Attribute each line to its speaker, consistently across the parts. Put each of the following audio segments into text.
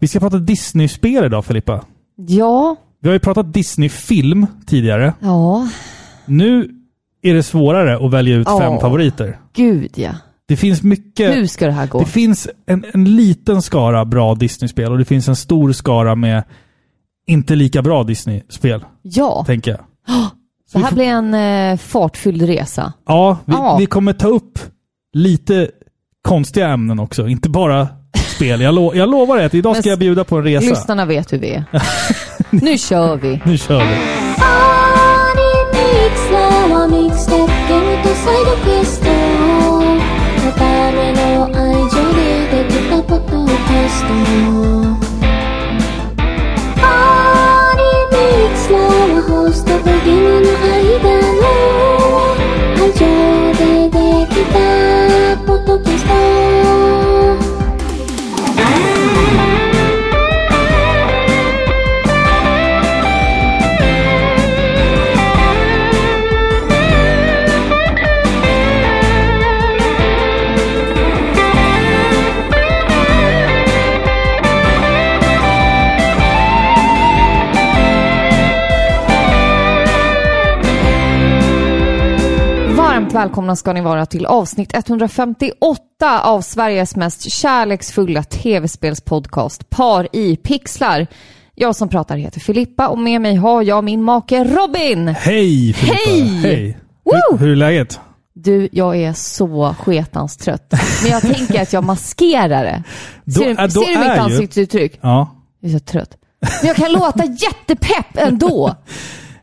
Speaker 1: Vi ska prata Disney-spel idag, Filippa.
Speaker 2: Ja,
Speaker 1: Vi har ju pratat Disney-film tidigare.
Speaker 2: ja,
Speaker 1: Nu är det svårare att välja ut
Speaker 2: Ja.
Speaker 1: fem favoriter.
Speaker 2: gud ja.
Speaker 1: Det finns mycket...
Speaker 2: Hur ska det här gå?
Speaker 1: Eh, Det finns en, en liten skara bra Disney-spel och det finns en stor skara med inte lika bra Disney-spel,
Speaker 2: Ja,
Speaker 1: tänker jag.
Speaker 2: det här blir en eh, fartfylld resa.
Speaker 1: Ja, vi,
Speaker 2: Ja.
Speaker 1: vi kommer ta upp lite konstiga ämnen också, inte bara spel. Jag, lo, jag lovar dig att idag
Speaker 2: Men
Speaker 1: ska jag bjuda på en resa.
Speaker 2: Lyssnarna vet hur vi är. nu kör vi!
Speaker 1: Nu kör vi.
Speaker 3: Podcast.
Speaker 2: Varmt välkomna ska ni vara till avsnitt 158 av Sveriges mest kärleksfulla tv-spelspodcast Par i pixlar. Jag som pratar heter Filippa och med mig har jag min make Robin.
Speaker 1: Hej Filippa!
Speaker 2: Hej!
Speaker 1: Hur, hur är läget?
Speaker 2: Du, jag är så sketans trött. Men jag tänker att jag maskerar det.
Speaker 1: Då-
Speaker 2: ser,
Speaker 1: äh, då
Speaker 2: ser du
Speaker 1: är
Speaker 2: mitt
Speaker 1: ju-
Speaker 2: ansiktsuttryck?
Speaker 1: Ja.
Speaker 2: Jag är så trött. Men jag kan låta jättepepp ändå.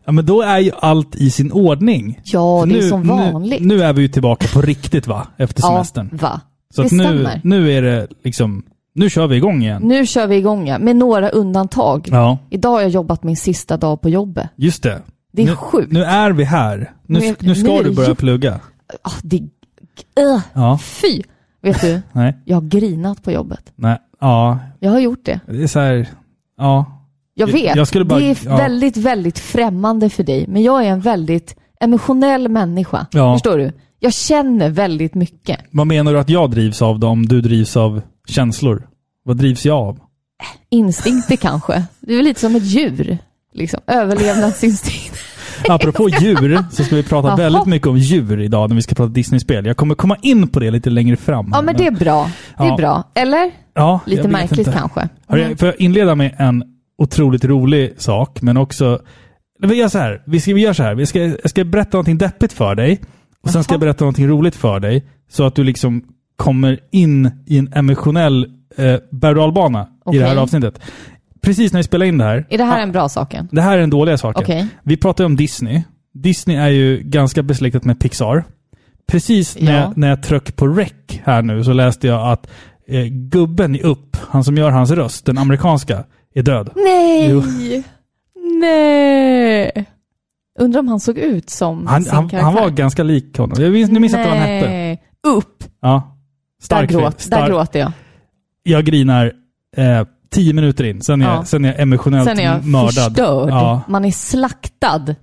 Speaker 1: ja, men då är ju allt i sin ordning.
Speaker 2: Ja,
Speaker 1: För
Speaker 2: det är som vanligt.
Speaker 1: Nu, nu är vi ju tillbaka på riktigt va, efter semestern.
Speaker 2: Ja, va?
Speaker 1: Så
Speaker 2: det
Speaker 1: att nu,
Speaker 2: stämmer.
Speaker 1: nu är det liksom, nu kör vi igång igen.
Speaker 2: Nu kör vi igång ja, med några undantag.
Speaker 1: Ja,
Speaker 2: Idag har jag jobbat min sista dag på jobbet.
Speaker 1: just det.
Speaker 2: Det är
Speaker 1: nu,
Speaker 2: sjukt.
Speaker 1: Nu är vi här. Nu,
Speaker 2: Nu är-
Speaker 1: nu ska
Speaker 2: nu är
Speaker 1: du
Speaker 2: det
Speaker 1: börja
Speaker 2: ju-
Speaker 1: plugga.
Speaker 2: Ah, det, öh,
Speaker 1: Ja,
Speaker 2: fy! Vet du,
Speaker 1: nej,
Speaker 2: jag har grinat på jobbet.
Speaker 1: nej, ja,
Speaker 2: Jag har gjort det.
Speaker 1: det är så här, ja,
Speaker 2: Jag
Speaker 1: Jag-
Speaker 2: vet,
Speaker 1: jag skulle bara-
Speaker 2: det är
Speaker 1: ja.
Speaker 2: väldigt, väldigt främmande för dig. Men jag är en väldigt emotionell människa.
Speaker 1: Ja.
Speaker 2: Förstår du? Jag känner väldigt mycket.
Speaker 1: vad menar du att jag drivs av då om du drivs av känslor? Vad drivs jag av?
Speaker 2: Instinkter kanske. Du är lite som ett djur. Liksom. Överlevnadsinstinkt.
Speaker 1: Apropå djur så ska vi prata
Speaker 2: Jaha.
Speaker 1: väldigt mycket om djur idag när vi ska prata Disney-spel. Jag kommer komma in på det lite längre fram.
Speaker 2: Ja, men det är bra. Det är
Speaker 1: Ja.
Speaker 2: bra. Eller?
Speaker 1: ja, jag
Speaker 2: Lite
Speaker 1: vet
Speaker 2: märkligt
Speaker 1: inte.
Speaker 2: kanske. Mm.
Speaker 1: Hörru, jag- Får jag inleda med en otroligt rolig sak, men också... Nej, Vi gör så här. Vi, ska, vi gör så här. Vi ska, jag ska berätta någonting deppigt för dig. Och sen ska
Speaker 2: Jaha.
Speaker 1: jag berätta någonting roligt för dig. Så att du liksom kommer in i en emotionell eh, berg och i det här
Speaker 2: Okej.
Speaker 1: avsnittet. Precis när vi spelar in det här.
Speaker 2: Är det här
Speaker 1: Ah,
Speaker 2: en bra saken?
Speaker 1: det här är den dåliga saken.
Speaker 2: Okej.
Speaker 1: Vi pratar ju om Disney. Disney är ju ganska besläktat med Pixar. Precis när,
Speaker 2: Ja.
Speaker 1: jag, när jag tryck på rec här nu så läste jag att eh, gubben i Upp, han som gör hans röst, den amerikanska, är död.
Speaker 2: Mm, Nej!
Speaker 1: Jo.
Speaker 2: Nej! Undrar om han såg ut som
Speaker 1: Han,
Speaker 2: sin
Speaker 1: han,
Speaker 2: karaktär.
Speaker 1: han var ganska lik honom. Jag minns, nu minns jag inte vad han hette.
Speaker 2: Nej. Upp!
Speaker 1: Ja.
Speaker 2: Där,
Speaker 1: Stark film.
Speaker 2: gråt, där
Speaker 1: Stark-
Speaker 2: gråter jag.
Speaker 1: Jag grinar eh, tio minuter in, sen är,
Speaker 2: Ja.
Speaker 1: jag, sen är jag emotionellt
Speaker 2: Sen är jag
Speaker 1: mördad.
Speaker 2: förstörd.
Speaker 1: Ja.
Speaker 2: Man är slaktad.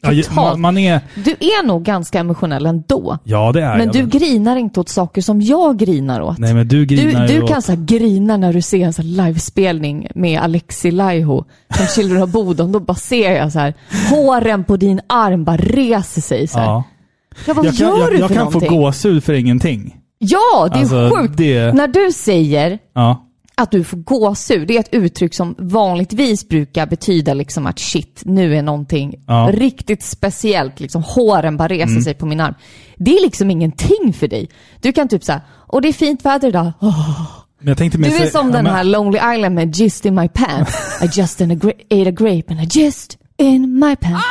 Speaker 1: Ja, ju-
Speaker 2: Totalt.
Speaker 1: man, man är...
Speaker 2: Du är nog ganska emotionell ändå.
Speaker 1: Ja, det är
Speaker 2: Men
Speaker 1: jag
Speaker 2: du
Speaker 1: väl.
Speaker 2: grinar inte åt saker som jag grinar åt.
Speaker 1: Nej, men du
Speaker 2: Du,
Speaker 1: grinar ju
Speaker 2: du
Speaker 1: åt-
Speaker 2: kan så här grina när du ser en så här livespelning med Alexi Laiho som Children of Bodom. Då bara ser jag så här, håren på din arm bara reser sig. Så här.
Speaker 1: Ja.
Speaker 2: Jag bara,
Speaker 1: Jag
Speaker 2: vad
Speaker 1: kan,
Speaker 2: gör
Speaker 1: jag,
Speaker 2: du
Speaker 1: jag
Speaker 2: för
Speaker 1: kan få
Speaker 2: någonting?
Speaker 1: gåshud för ingenting.
Speaker 2: Ja, det är
Speaker 1: Alltså,
Speaker 2: sjukt.
Speaker 1: det-
Speaker 2: När du säger
Speaker 1: Ja.
Speaker 2: att du får gåshud, det är ett uttryck som vanligtvis brukar betyda liksom att shit, nu är någonting
Speaker 1: Ja. Mm.
Speaker 2: riktigt speciellt. Liksom, håren bara reser sig på min arm. Det är liksom ingenting för dig. Du kan typ säga, och det är fint väder idag.
Speaker 1: Men jag tänkte mer
Speaker 2: Du är
Speaker 1: så-
Speaker 2: som
Speaker 1: ja,
Speaker 2: den
Speaker 1: men-
Speaker 2: här Lonely Island med Just in my pants. I just in a gra- ate a grape and I just in my pants.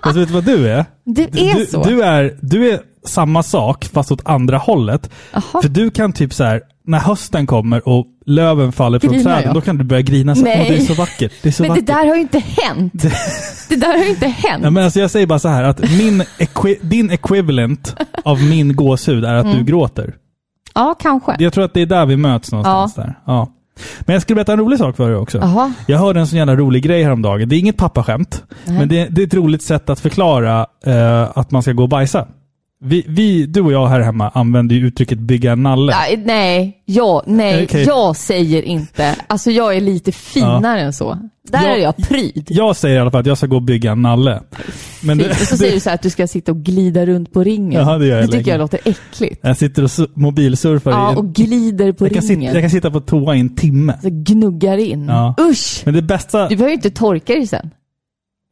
Speaker 1: Alltså, vet du vad du är?
Speaker 2: Det
Speaker 1: Du-
Speaker 2: är
Speaker 1: du,
Speaker 2: så.
Speaker 1: Du är, du är samma sak fast åt andra hållet.
Speaker 2: Jaha.
Speaker 1: För du kan typ så här, när hösten kommer och löven faller från
Speaker 2: Grinar
Speaker 1: träden,
Speaker 2: jag?
Speaker 1: då kan du börja grina. Så, här,
Speaker 2: Nej.
Speaker 1: Åh, det är så vackert. Det är så
Speaker 2: Men det
Speaker 1: vackert.
Speaker 2: där har ju inte hänt. Det där har ju inte hänt.
Speaker 1: Ah! Ja, men alltså jag säger bara så här att min equi- din equivalent av min gåshud är att
Speaker 2: Mm.
Speaker 1: du gråter.
Speaker 2: Ja, kanske.
Speaker 1: Jag tror att det är där vi möts någonstans. Där. Ja. Men jag skulle berätta en rolig sak för dig också.
Speaker 2: Jaha.
Speaker 1: Jag hörde en sån jävla rolig grej häromdagen. Det är inget pappaskämt,
Speaker 2: Nej.
Speaker 1: men det, det är ett roligt sätt att förklara eh, att man ska gå och bajsa. Vi, vi, du och jag här hemma använder ju uttrycket bygga en nalle.
Speaker 2: Nej, nej, ja, nej,
Speaker 1: Okej.
Speaker 2: jag säger inte. Alltså jag är lite finare än så. Där
Speaker 1: Jag-
Speaker 2: är jag pryd.
Speaker 1: Jag säger i alla fall att jag ska gå och bygga en nalle. Men
Speaker 2: Fint. Och så säger du så här att du ska sitta och glida runt på ringen.
Speaker 1: Jaha, det gör jag
Speaker 2: tycker
Speaker 1: länge.
Speaker 2: jag låter äckligt.
Speaker 1: jag sitter och su- mobilsurfar
Speaker 2: Ja,
Speaker 1: i
Speaker 2: och glider på
Speaker 1: jag, kan sitta,
Speaker 2: ringen.
Speaker 1: jag kan sitta på toa i en timme.
Speaker 2: Så gnuggar in.
Speaker 1: Ja.
Speaker 2: Usch!
Speaker 1: Men det bästa...
Speaker 2: Du behöver ju inte torka dig sen.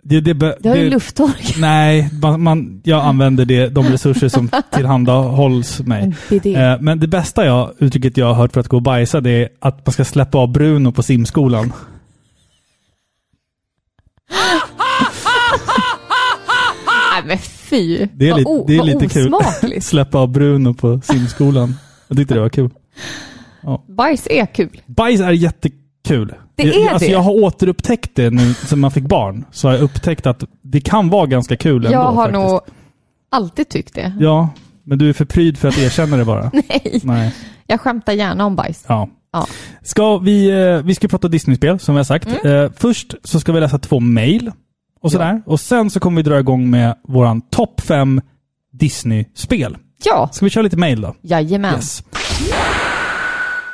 Speaker 1: Det, det, be-
Speaker 2: Du har ju
Speaker 1: det,
Speaker 2: lufttork.
Speaker 1: nej, man, man, jag använder det, de resurser som tillhandahålls mig.
Speaker 2: Bidé.
Speaker 1: Eh, Men det bästa jag, uttrycket jag har hört för att gå och bajsa det är att man ska släppa av Bruno på simskolan.
Speaker 2: Nej men fy!
Speaker 1: Det är,
Speaker 2: Vad
Speaker 1: li-
Speaker 2: o-
Speaker 1: det är
Speaker 2: vad
Speaker 1: lite kul.
Speaker 2: osmakligt.
Speaker 1: släppa av Bruno på simskolan. Jag tyckte det var kul.
Speaker 2: Bajs är kul.
Speaker 1: Bajs är jättekul.
Speaker 2: Det
Speaker 1: jag,
Speaker 2: är
Speaker 1: alltså
Speaker 2: det.
Speaker 1: jag har återupptäckt det nu sen man fick barn. Så har jag upptäckt att det kan vara ganska kul ändå.
Speaker 2: jag har
Speaker 1: faktiskt.
Speaker 2: nog alltid tyckt det.
Speaker 1: Ja, men du är för pryd för att erkänna det bara.
Speaker 2: Nej,
Speaker 1: Nej.
Speaker 2: jag skämtar gärna om bajs.
Speaker 1: Ja.
Speaker 2: Ja.
Speaker 1: Ska vi, eh, vi ska prata Disney-spel, som vi har sagt. Eh, först så ska vi läsa två mejl och sådär. Och sen så kommer vi dra igång med våran topp fem Disney-spel.
Speaker 2: Ja,
Speaker 1: Ska vi köra lite mejl då?
Speaker 2: jajamän.
Speaker 1: Yes.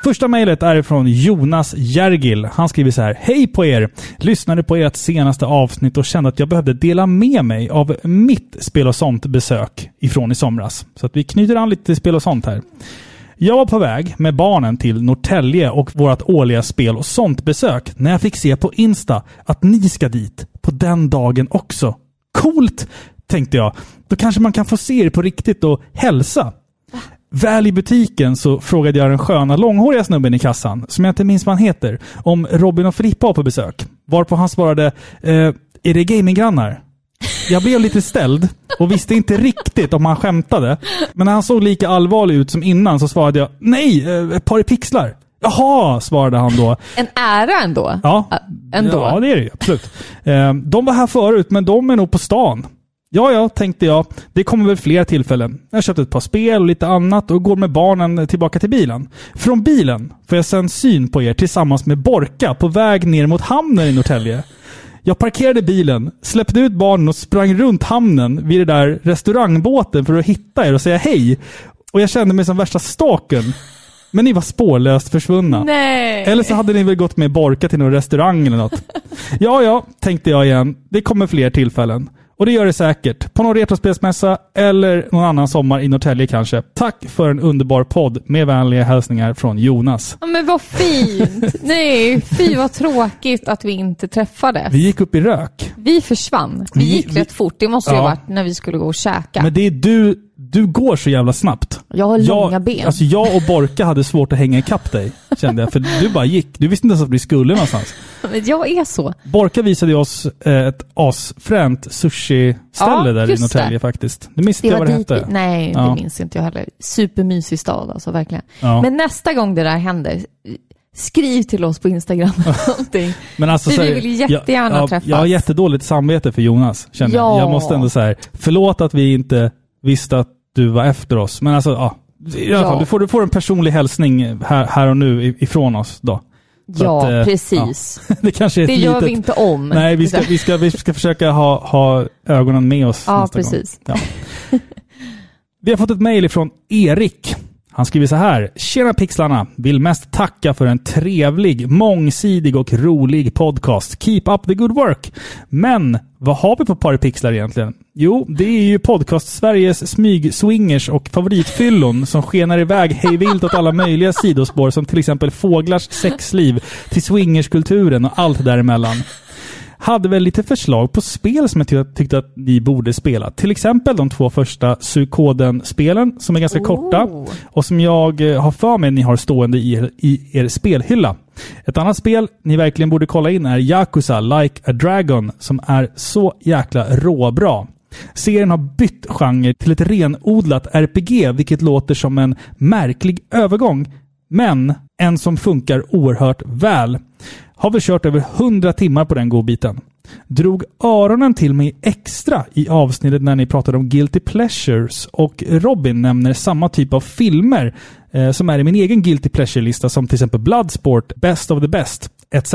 Speaker 1: Första mejlet är från Jonas Jergil. Han skriver så här. Hej på er! Lyssnade på ert senaste avsnitt och kände att jag behövde dela med mig av mitt Spel och sånt-besök ifrån i somras. Så att vi knyter an lite till Spel och sånt här. Jag var på väg med barnen till Norrtälje och vårt årliga spel och sånt besök när jag fick se på Insta att ni ska dit på den dagen också. Coolt! Tänkte jag. Då kanske man kan få se er på riktigt och hälsa. Väl i butiken så frågade jag den sköna långhåriga snubben i kassan, som jag inte minns vad han heter, om Robin och Filippa var på besök. Varpå han svarade eh, “Är det gaminggrannar?” Jag blev lite ställd och visste inte riktigt om han skämtade. Men när han såg lika allvarlig ut som innan så svarade jag “Nej, eh, ett par i pixlar”. “Jaha”, svarade han då.
Speaker 2: En ära ändå.
Speaker 1: Ja,
Speaker 2: Ä- ändå.
Speaker 1: ja det är det ju. Absolut. Eh, De var här förut, men de är nog på stan. Ja, ja, tänkte jag. Det kommer väl fler tillfällen. Jag köpte ett par spel och lite annat och går med barnen tillbaka till bilen. Från bilen får jag sen syn på er tillsammans med Borka på väg ner mot hamnen i Norrtälje. Jag parkerade bilen, släppte ut barnen och sprang runt hamnen vid det där restaurangbåten för att hitta er och säga hej. Och jag kände mig som värsta stalkern. Men ni var spårlöst försvunna.
Speaker 2: Nej!
Speaker 1: Eller så hade ni väl gått med Borka till någon restaurang eller något. Ja, ja, tänkte jag igen. Det kommer fler tillfällen. Och det gör det säkert. På någon retrospelsmässa eller någon annan sommar i Norrtälje kanske. Tack för en underbar podd. Med vänliga hälsningar från Jonas.
Speaker 2: Ja, men vad fint! Nej, fy vad tråkigt att vi inte träffades.
Speaker 1: Vi gick upp i rök.
Speaker 2: Vi försvann. Vi
Speaker 1: Vi-
Speaker 2: gick
Speaker 1: vi-
Speaker 2: rätt fort. Det måste ju
Speaker 1: Ja.
Speaker 2: ha varit när vi skulle gå och käka.
Speaker 1: Men det är du, du går så jävla snabbt.
Speaker 2: jag har
Speaker 1: Jag,
Speaker 2: långa ben.
Speaker 1: Alltså jag och Borka hade svårt att hänga ikapp dig, kände jag. För du bara gick. Du visste inte ens att vi skulle någonstans.
Speaker 2: Men jag är så.
Speaker 1: Borka visade ju oss eh, ett asfränt sushi-ställe
Speaker 2: Ja,
Speaker 1: där i
Speaker 2: just
Speaker 1: Norrtälje
Speaker 2: det.
Speaker 1: faktiskt. Nu minns inte
Speaker 2: Det
Speaker 1: jag
Speaker 2: var
Speaker 1: vad det
Speaker 2: dit vi,
Speaker 1: hette.
Speaker 2: Nej,
Speaker 1: Ja.
Speaker 2: det minns inte jag heller. Supermysig stad alltså, verkligen.
Speaker 1: Ja. Men,
Speaker 2: Men nästa gång det där händer, skriv till oss på Instagram eller någonting.
Speaker 1: alltså,
Speaker 2: vi
Speaker 1: så här,
Speaker 2: vill ju jättegärna
Speaker 1: jag, jag,
Speaker 2: träffas.
Speaker 1: jag har jättedåligt samvete för Jonas, känner jag.
Speaker 2: Ja.
Speaker 1: Jag måste ändå säga, förlåt att vi inte visste att du var efter oss. Men alltså, ja. I alla
Speaker 2: Ja.
Speaker 1: fall, du, får, du får en personlig hälsning här, här och nu i- ifrån oss då. Så
Speaker 2: ja,
Speaker 1: att, eh,
Speaker 2: precis.
Speaker 1: Det kanske är ett
Speaker 2: Det gör
Speaker 1: litet...
Speaker 2: vi inte om.
Speaker 1: Nej, vi ska,
Speaker 2: Det där.
Speaker 1: vi ska, vi ska försöka ha, ha ögonen med oss
Speaker 2: Ja,
Speaker 1: nästa gång.
Speaker 2: precis.
Speaker 1: Ja. Vi har fått ett mejl från Erik. Han skriver så här. Tjena pixlarna! Vill mest tacka för en trevlig, mångsidig och rolig podcast. Keep up the good work! Men vad har vi på Pari Pixlar egentligen? Jo, det är ju podcast Sveriges smygswingers och favoritfyllon som skenar iväg hejvilt åt alla möjliga sidospår som till exempel fåglars sexliv till swingerskulturen och allt däremellan hade väl lite förslag på spel som jag ty- tyckte att ni borde spela. Till exempel de två första Suikoden-spelen som är ganska korta
Speaker 2: Oh.
Speaker 1: och som jag eh, har för mig ni har stående i er, i er spelhylla. Ett annat spel ni verkligen borde kolla in är Yakuza Like a Dragon som är så jäkla råbra. Serien har bytt genre till ett renodlat RPG vilket låter som en märklig övergång men en som funkar oerhört väl. Har väl kört över 100 timmar på den godbiten. Drog öronen till mig extra i avsnittet när ni pratade om Guilty Pleasures och Robin nämner samma typ av filmer eh, som är i min egen Guilty Pleasure-lista som till exempel Bloodsport, Best of the Best etc.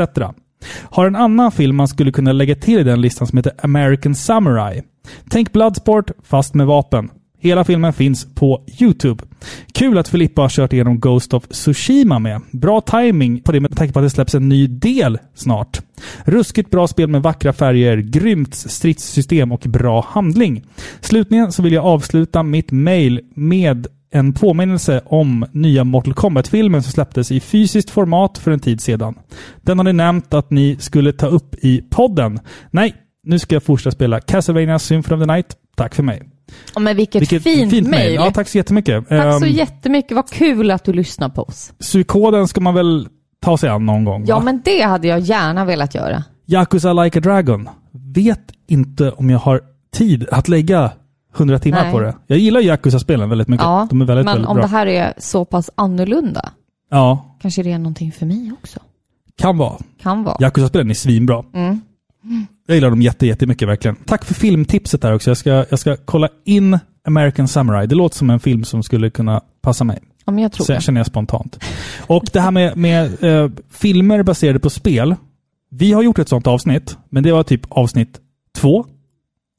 Speaker 1: Har en annan film man skulle kunna lägga till i den listan som heter American Samurai. Tänk Bloodsport fast med vapen. Hela filmen finns på Youtube. Kul att Filippa har kört igenom Ghost of Tsushima med. Bra timing på det med tanke på att det släpps en ny del snart. Ruskigt bra spel med vackra färger, grymt stridssystem och bra handling. Slutligen så vill jag avsluta mitt mail med en påminnelse om nya Mortal Kombat-filmen som släpptes i fysiskt format för en tid sedan. Den har ni nämnt att ni skulle ta upp i podden. Nej, nu ska jag fortsätta spela Castlevania Symphony of the Night. Tack för mig.
Speaker 2: Ja, men vilket, fint, mejl.
Speaker 1: Ja, tack så jättemycket.
Speaker 2: Tack så
Speaker 1: Ehm,
Speaker 2: jättemycket. Vad kul att du lyssnar på oss.
Speaker 1: Suikoden ska man väl ta sig an någon gång?
Speaker 2: Ja,
Speaker 1: va?
Speaker 2: men det hade jag gärna velat göra.
Speaker 1: Yakuza Like a Dragon. Vet inte om jag har tid att lägga 100 timmar
Speaker 2: Nej.
Speaker 1: på det. Jag gillar Yakuza-spelen väldigt mycket.
Speaker 2: Ja,
Speaker 1: De är väldigt,
Speaker 2: men
Speaker 1: väldigt
Speaker 2: om
Speaker 1: bra.
Speaker 2: det här är så pass annorlunda,
Speaker 1: Ja,
Speaker 2: kanske det är någonting för mig också.
Speaker 1: kan vara.
Speaker 2: Kan vara.
Speaker 1: Yakuza-spelen är svinbra.
Speaker 2: Mm.
Speaker 1: Jag gillar dem jätte, jättemycket verkligen. Tack för filmtipset där också. Jag ska, jag ska kolla in American Samurai. Det låter som en film som skulle kunna passa mig.
Speaker 2: Ja, men jag tror
Speaker 1: Så
Speaker 2: det.
Speaker 1: jag känner jag spontant. Och det här med, med eh, filmer baserade på spel. Vi har gjort ett sånt avsnitt, men det var typ avsnitt två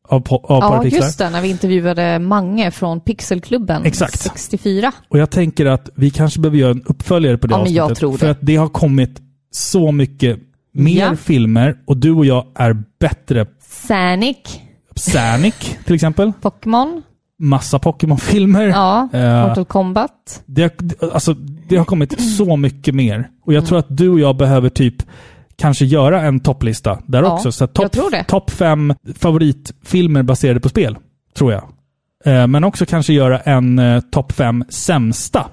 Speaker 1: av, po- av
Speaker 2: Ja,
Speaker 1: Parapixlar.
Speaker 2: just det. När vi intervjuade Mange från Pixelklubben
Speaker 1: Exakt.
Speaker 2: 64.
Speaker 1: Och jag tänker att vi kanske behöver göra en uppföljare på det
Speaker 2: Ja, men
Speaker 1: avsnittet.
Speaker 2: jag tror det.
Speaker 1: För att det har kommit så mycket mer
Speaker 2: Ja.
Speaker 1: filmer och du och jag är bättre.
Speaker 2: Sanic,
Speaker 1: Sanic till exempel.
Speaker 2: Pokémon,
Speaker 1: Massa Pokémon-filmer.
Speaker 2: ja,
Speaker 1: Eh,
Speaker 2: Mortal Kombat.
Speaker 1: Det, har- alltså, det har kommit så mycket mer. Och jag
Speaker 2: Mm.
Speaker 1: tror att du och jag behöver typ kanske göra en topplista där
Speaker 2: Ja,
Speaker 1: också. Så att
Speaker 2: jag
Speaker 1: topp
Speaker 2: tror det.
Speaker 1: top fem favoritfilmer baserade på spel, tror jag. Eh, Men också kanske göra en eh, topp fem sämsta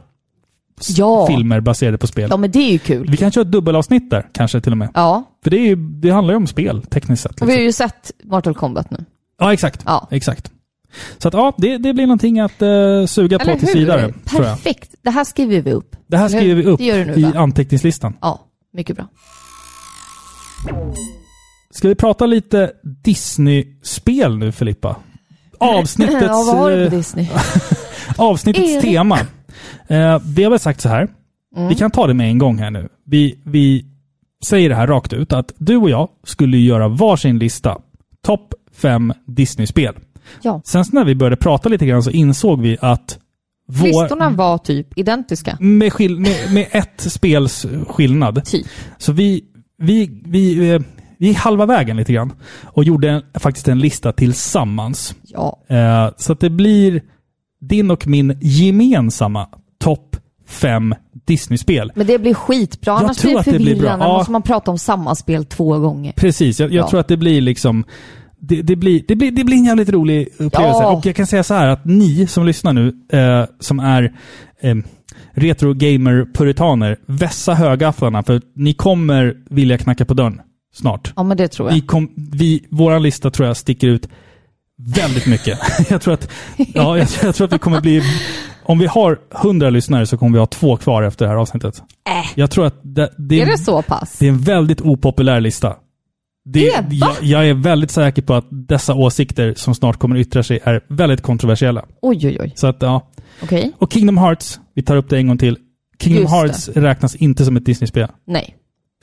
Speaker 1: s-
Speaker 2: Ja.
Speaker 1: filmer baserade på spel.
Speaker 2: Ja, men det är ju kul.
Speaker 1: Vi kan köra ett dubbelavsnitt där, kanske till och med.
Speaker 2: Ja,
Speaker 1: För det, är ju, det handlar ju om spel, tekniskt sett.
Speaker 2: och vi har
Speaker 1: liksom.
Speaker 2: ju sett Mortal Kombat nu.
Speaker 1: Ja, exakt.
Speaker 2: Ja.
Speaker 1: exakt. Så att, ja, det, det blir någonting att eh, suga på tills vidare, tror jag.
Speaker 2: Perfekt. Det här skriver vi upp.
Speaker 1: Det här
Speaker 2: Eller hur?
Speaker 1: skriver vi upp
Speaker 2: Det gör du nu,
Speaker 1: i
Speaker 2: va?
Speaker 1: anteckningslistan.
Speaker 2: Ja, mycket bra.
Speaker 1: Ska vi prata lite Disney-spel nu Filippa? Avsnittets,
Speaker 2: ja, vad har du
Speaker 1: eh,
Speaker 2: på Disney?
Speaker 1: avsnittets
Speaker 2: Erik? Mm.
Speaker 1: tema. Eh, vi har väl sagt så här, vi kan ta det med en gång här nu. Vi, vi säger det här rakt ut, att du och jag skulle ju göra varsin lista. Topp fem Disney-spel.
Speaker 2: Ja.
Speaker 1: Sen så när vi började prata lite grann så insåg vi att vår,
Speaker 2: Listorna var typ identiska.
Speaker 1: med, skill- med, med ett spels skillnad,
Speaker 2: Typ.
Speaker 1: Så vi, vi, vi, eh, vi är halva vägen lite grann och gjorde en, faktiskt en lista tillsammans.
Speaker 2: Ja.
Speaker 1: Eh, så att det blir din och min gemensamma topp fem Disney-spel.
Speaker 2: Men det blir skitbra,
Speaker 1: Jag
Speaker 2: annars
Speaker 1: tror
Speaker 2: blir det
Speaker 1: att det blir bra.
Speaker 2: förvirrande.
Speaker 1: Ja.
Speaker 2: måste man prata om samma spel två gånger.
Speaker 1: Precis, jag, jag
Speaker 2: Ja.
Speaker 1: tror att det blir liksom det, det, blir, det, blir, det blir en jävligt rolig upplevelse.
Speaker 2: Ja.
Speaker 1: Och jag kan säga så här att ni som lyssnar nu, eh, som är eh, retro-gamer-puritaner, vässa högafflarna för ni kommer vilja knacka på dörren snart.
Speaker 2: Ja, men det tror
Speaker 1: Vi
Speaker 2: jag.
Speaker 1: kom, vi, våran lista tror jag sticker ut väldigt mycket. jag, tror att, ja, jag, jag tror att vi kommer bli... Om vi har 100 lyssnare så kommer vi ha två kvar efter det här avsnittet.
Speaker 2: Äh,
Speaker 1: Jag tror att det, det,
Speaker 2: är det så pass?
Speaker 1: det är en väldigt opopulär lista. Det,
Speaker 2: Det, va?
Speaker 1: jag, jag är väldigt säker på att dessa åsikter som snart kommer yttra sig är väldigt kontroversiella.
Speaker 2: Oj, oj, oj.
Speaker 1: Så att, ja.
Speaker 2: Okej.
Speaker 1: Och Kingdom Hearts, vi tar upp det en gång till. Kingdom
Speaker 2: Just det.
Speaker 1: Hearts räknas inte som ett Disney-spel.
Speaker 2: Nej.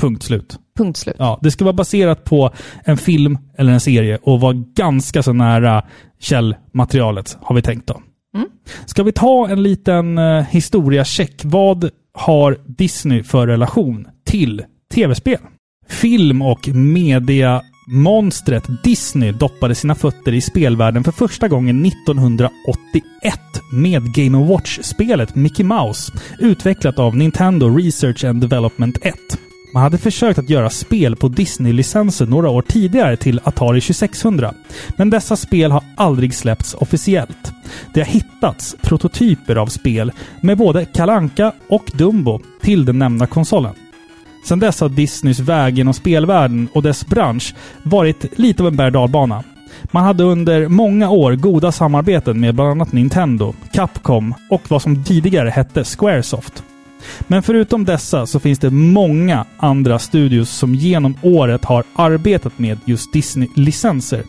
Speaker 1: Punkt slut.
Speaker 2: Punkt slut.
Speaker 1: Ja, det ska vara baserat på en film eller en serie och vara ganska så nära källmaterialet, har vi tänkt då.
Speaker 2: Mm.
Speaker 1: Ska vi ta en liten eh, historiacheck? Vad har Disney för relation till tv-spel? Film och mediamonstret Disney doppade sina fötter i spelvärlden för första gången 1981 med Game Watch-spelet Mickey Mouse, utvecklat av Nintendo Research and Development 1. Man hade försökt att göra spel på Disney-licensen några år tidigare till Atari 2600, men dessa spel har aldrig släppts officiellt. Det har hittats prototyper av spel med både Kalanka och Dumbo till den nämnda konsolen. Sedan dess har Disneys väg genom spelvärlden och dess bransch varit lite av en berg dalbana. Man hade under många år goda samarbeten med bland annat Nintendo, Capcom och vad som tidigare hette Squaresoft. Men förutom dessa så finns det många andra studios som genom året har arbetat med just Disney-licenser.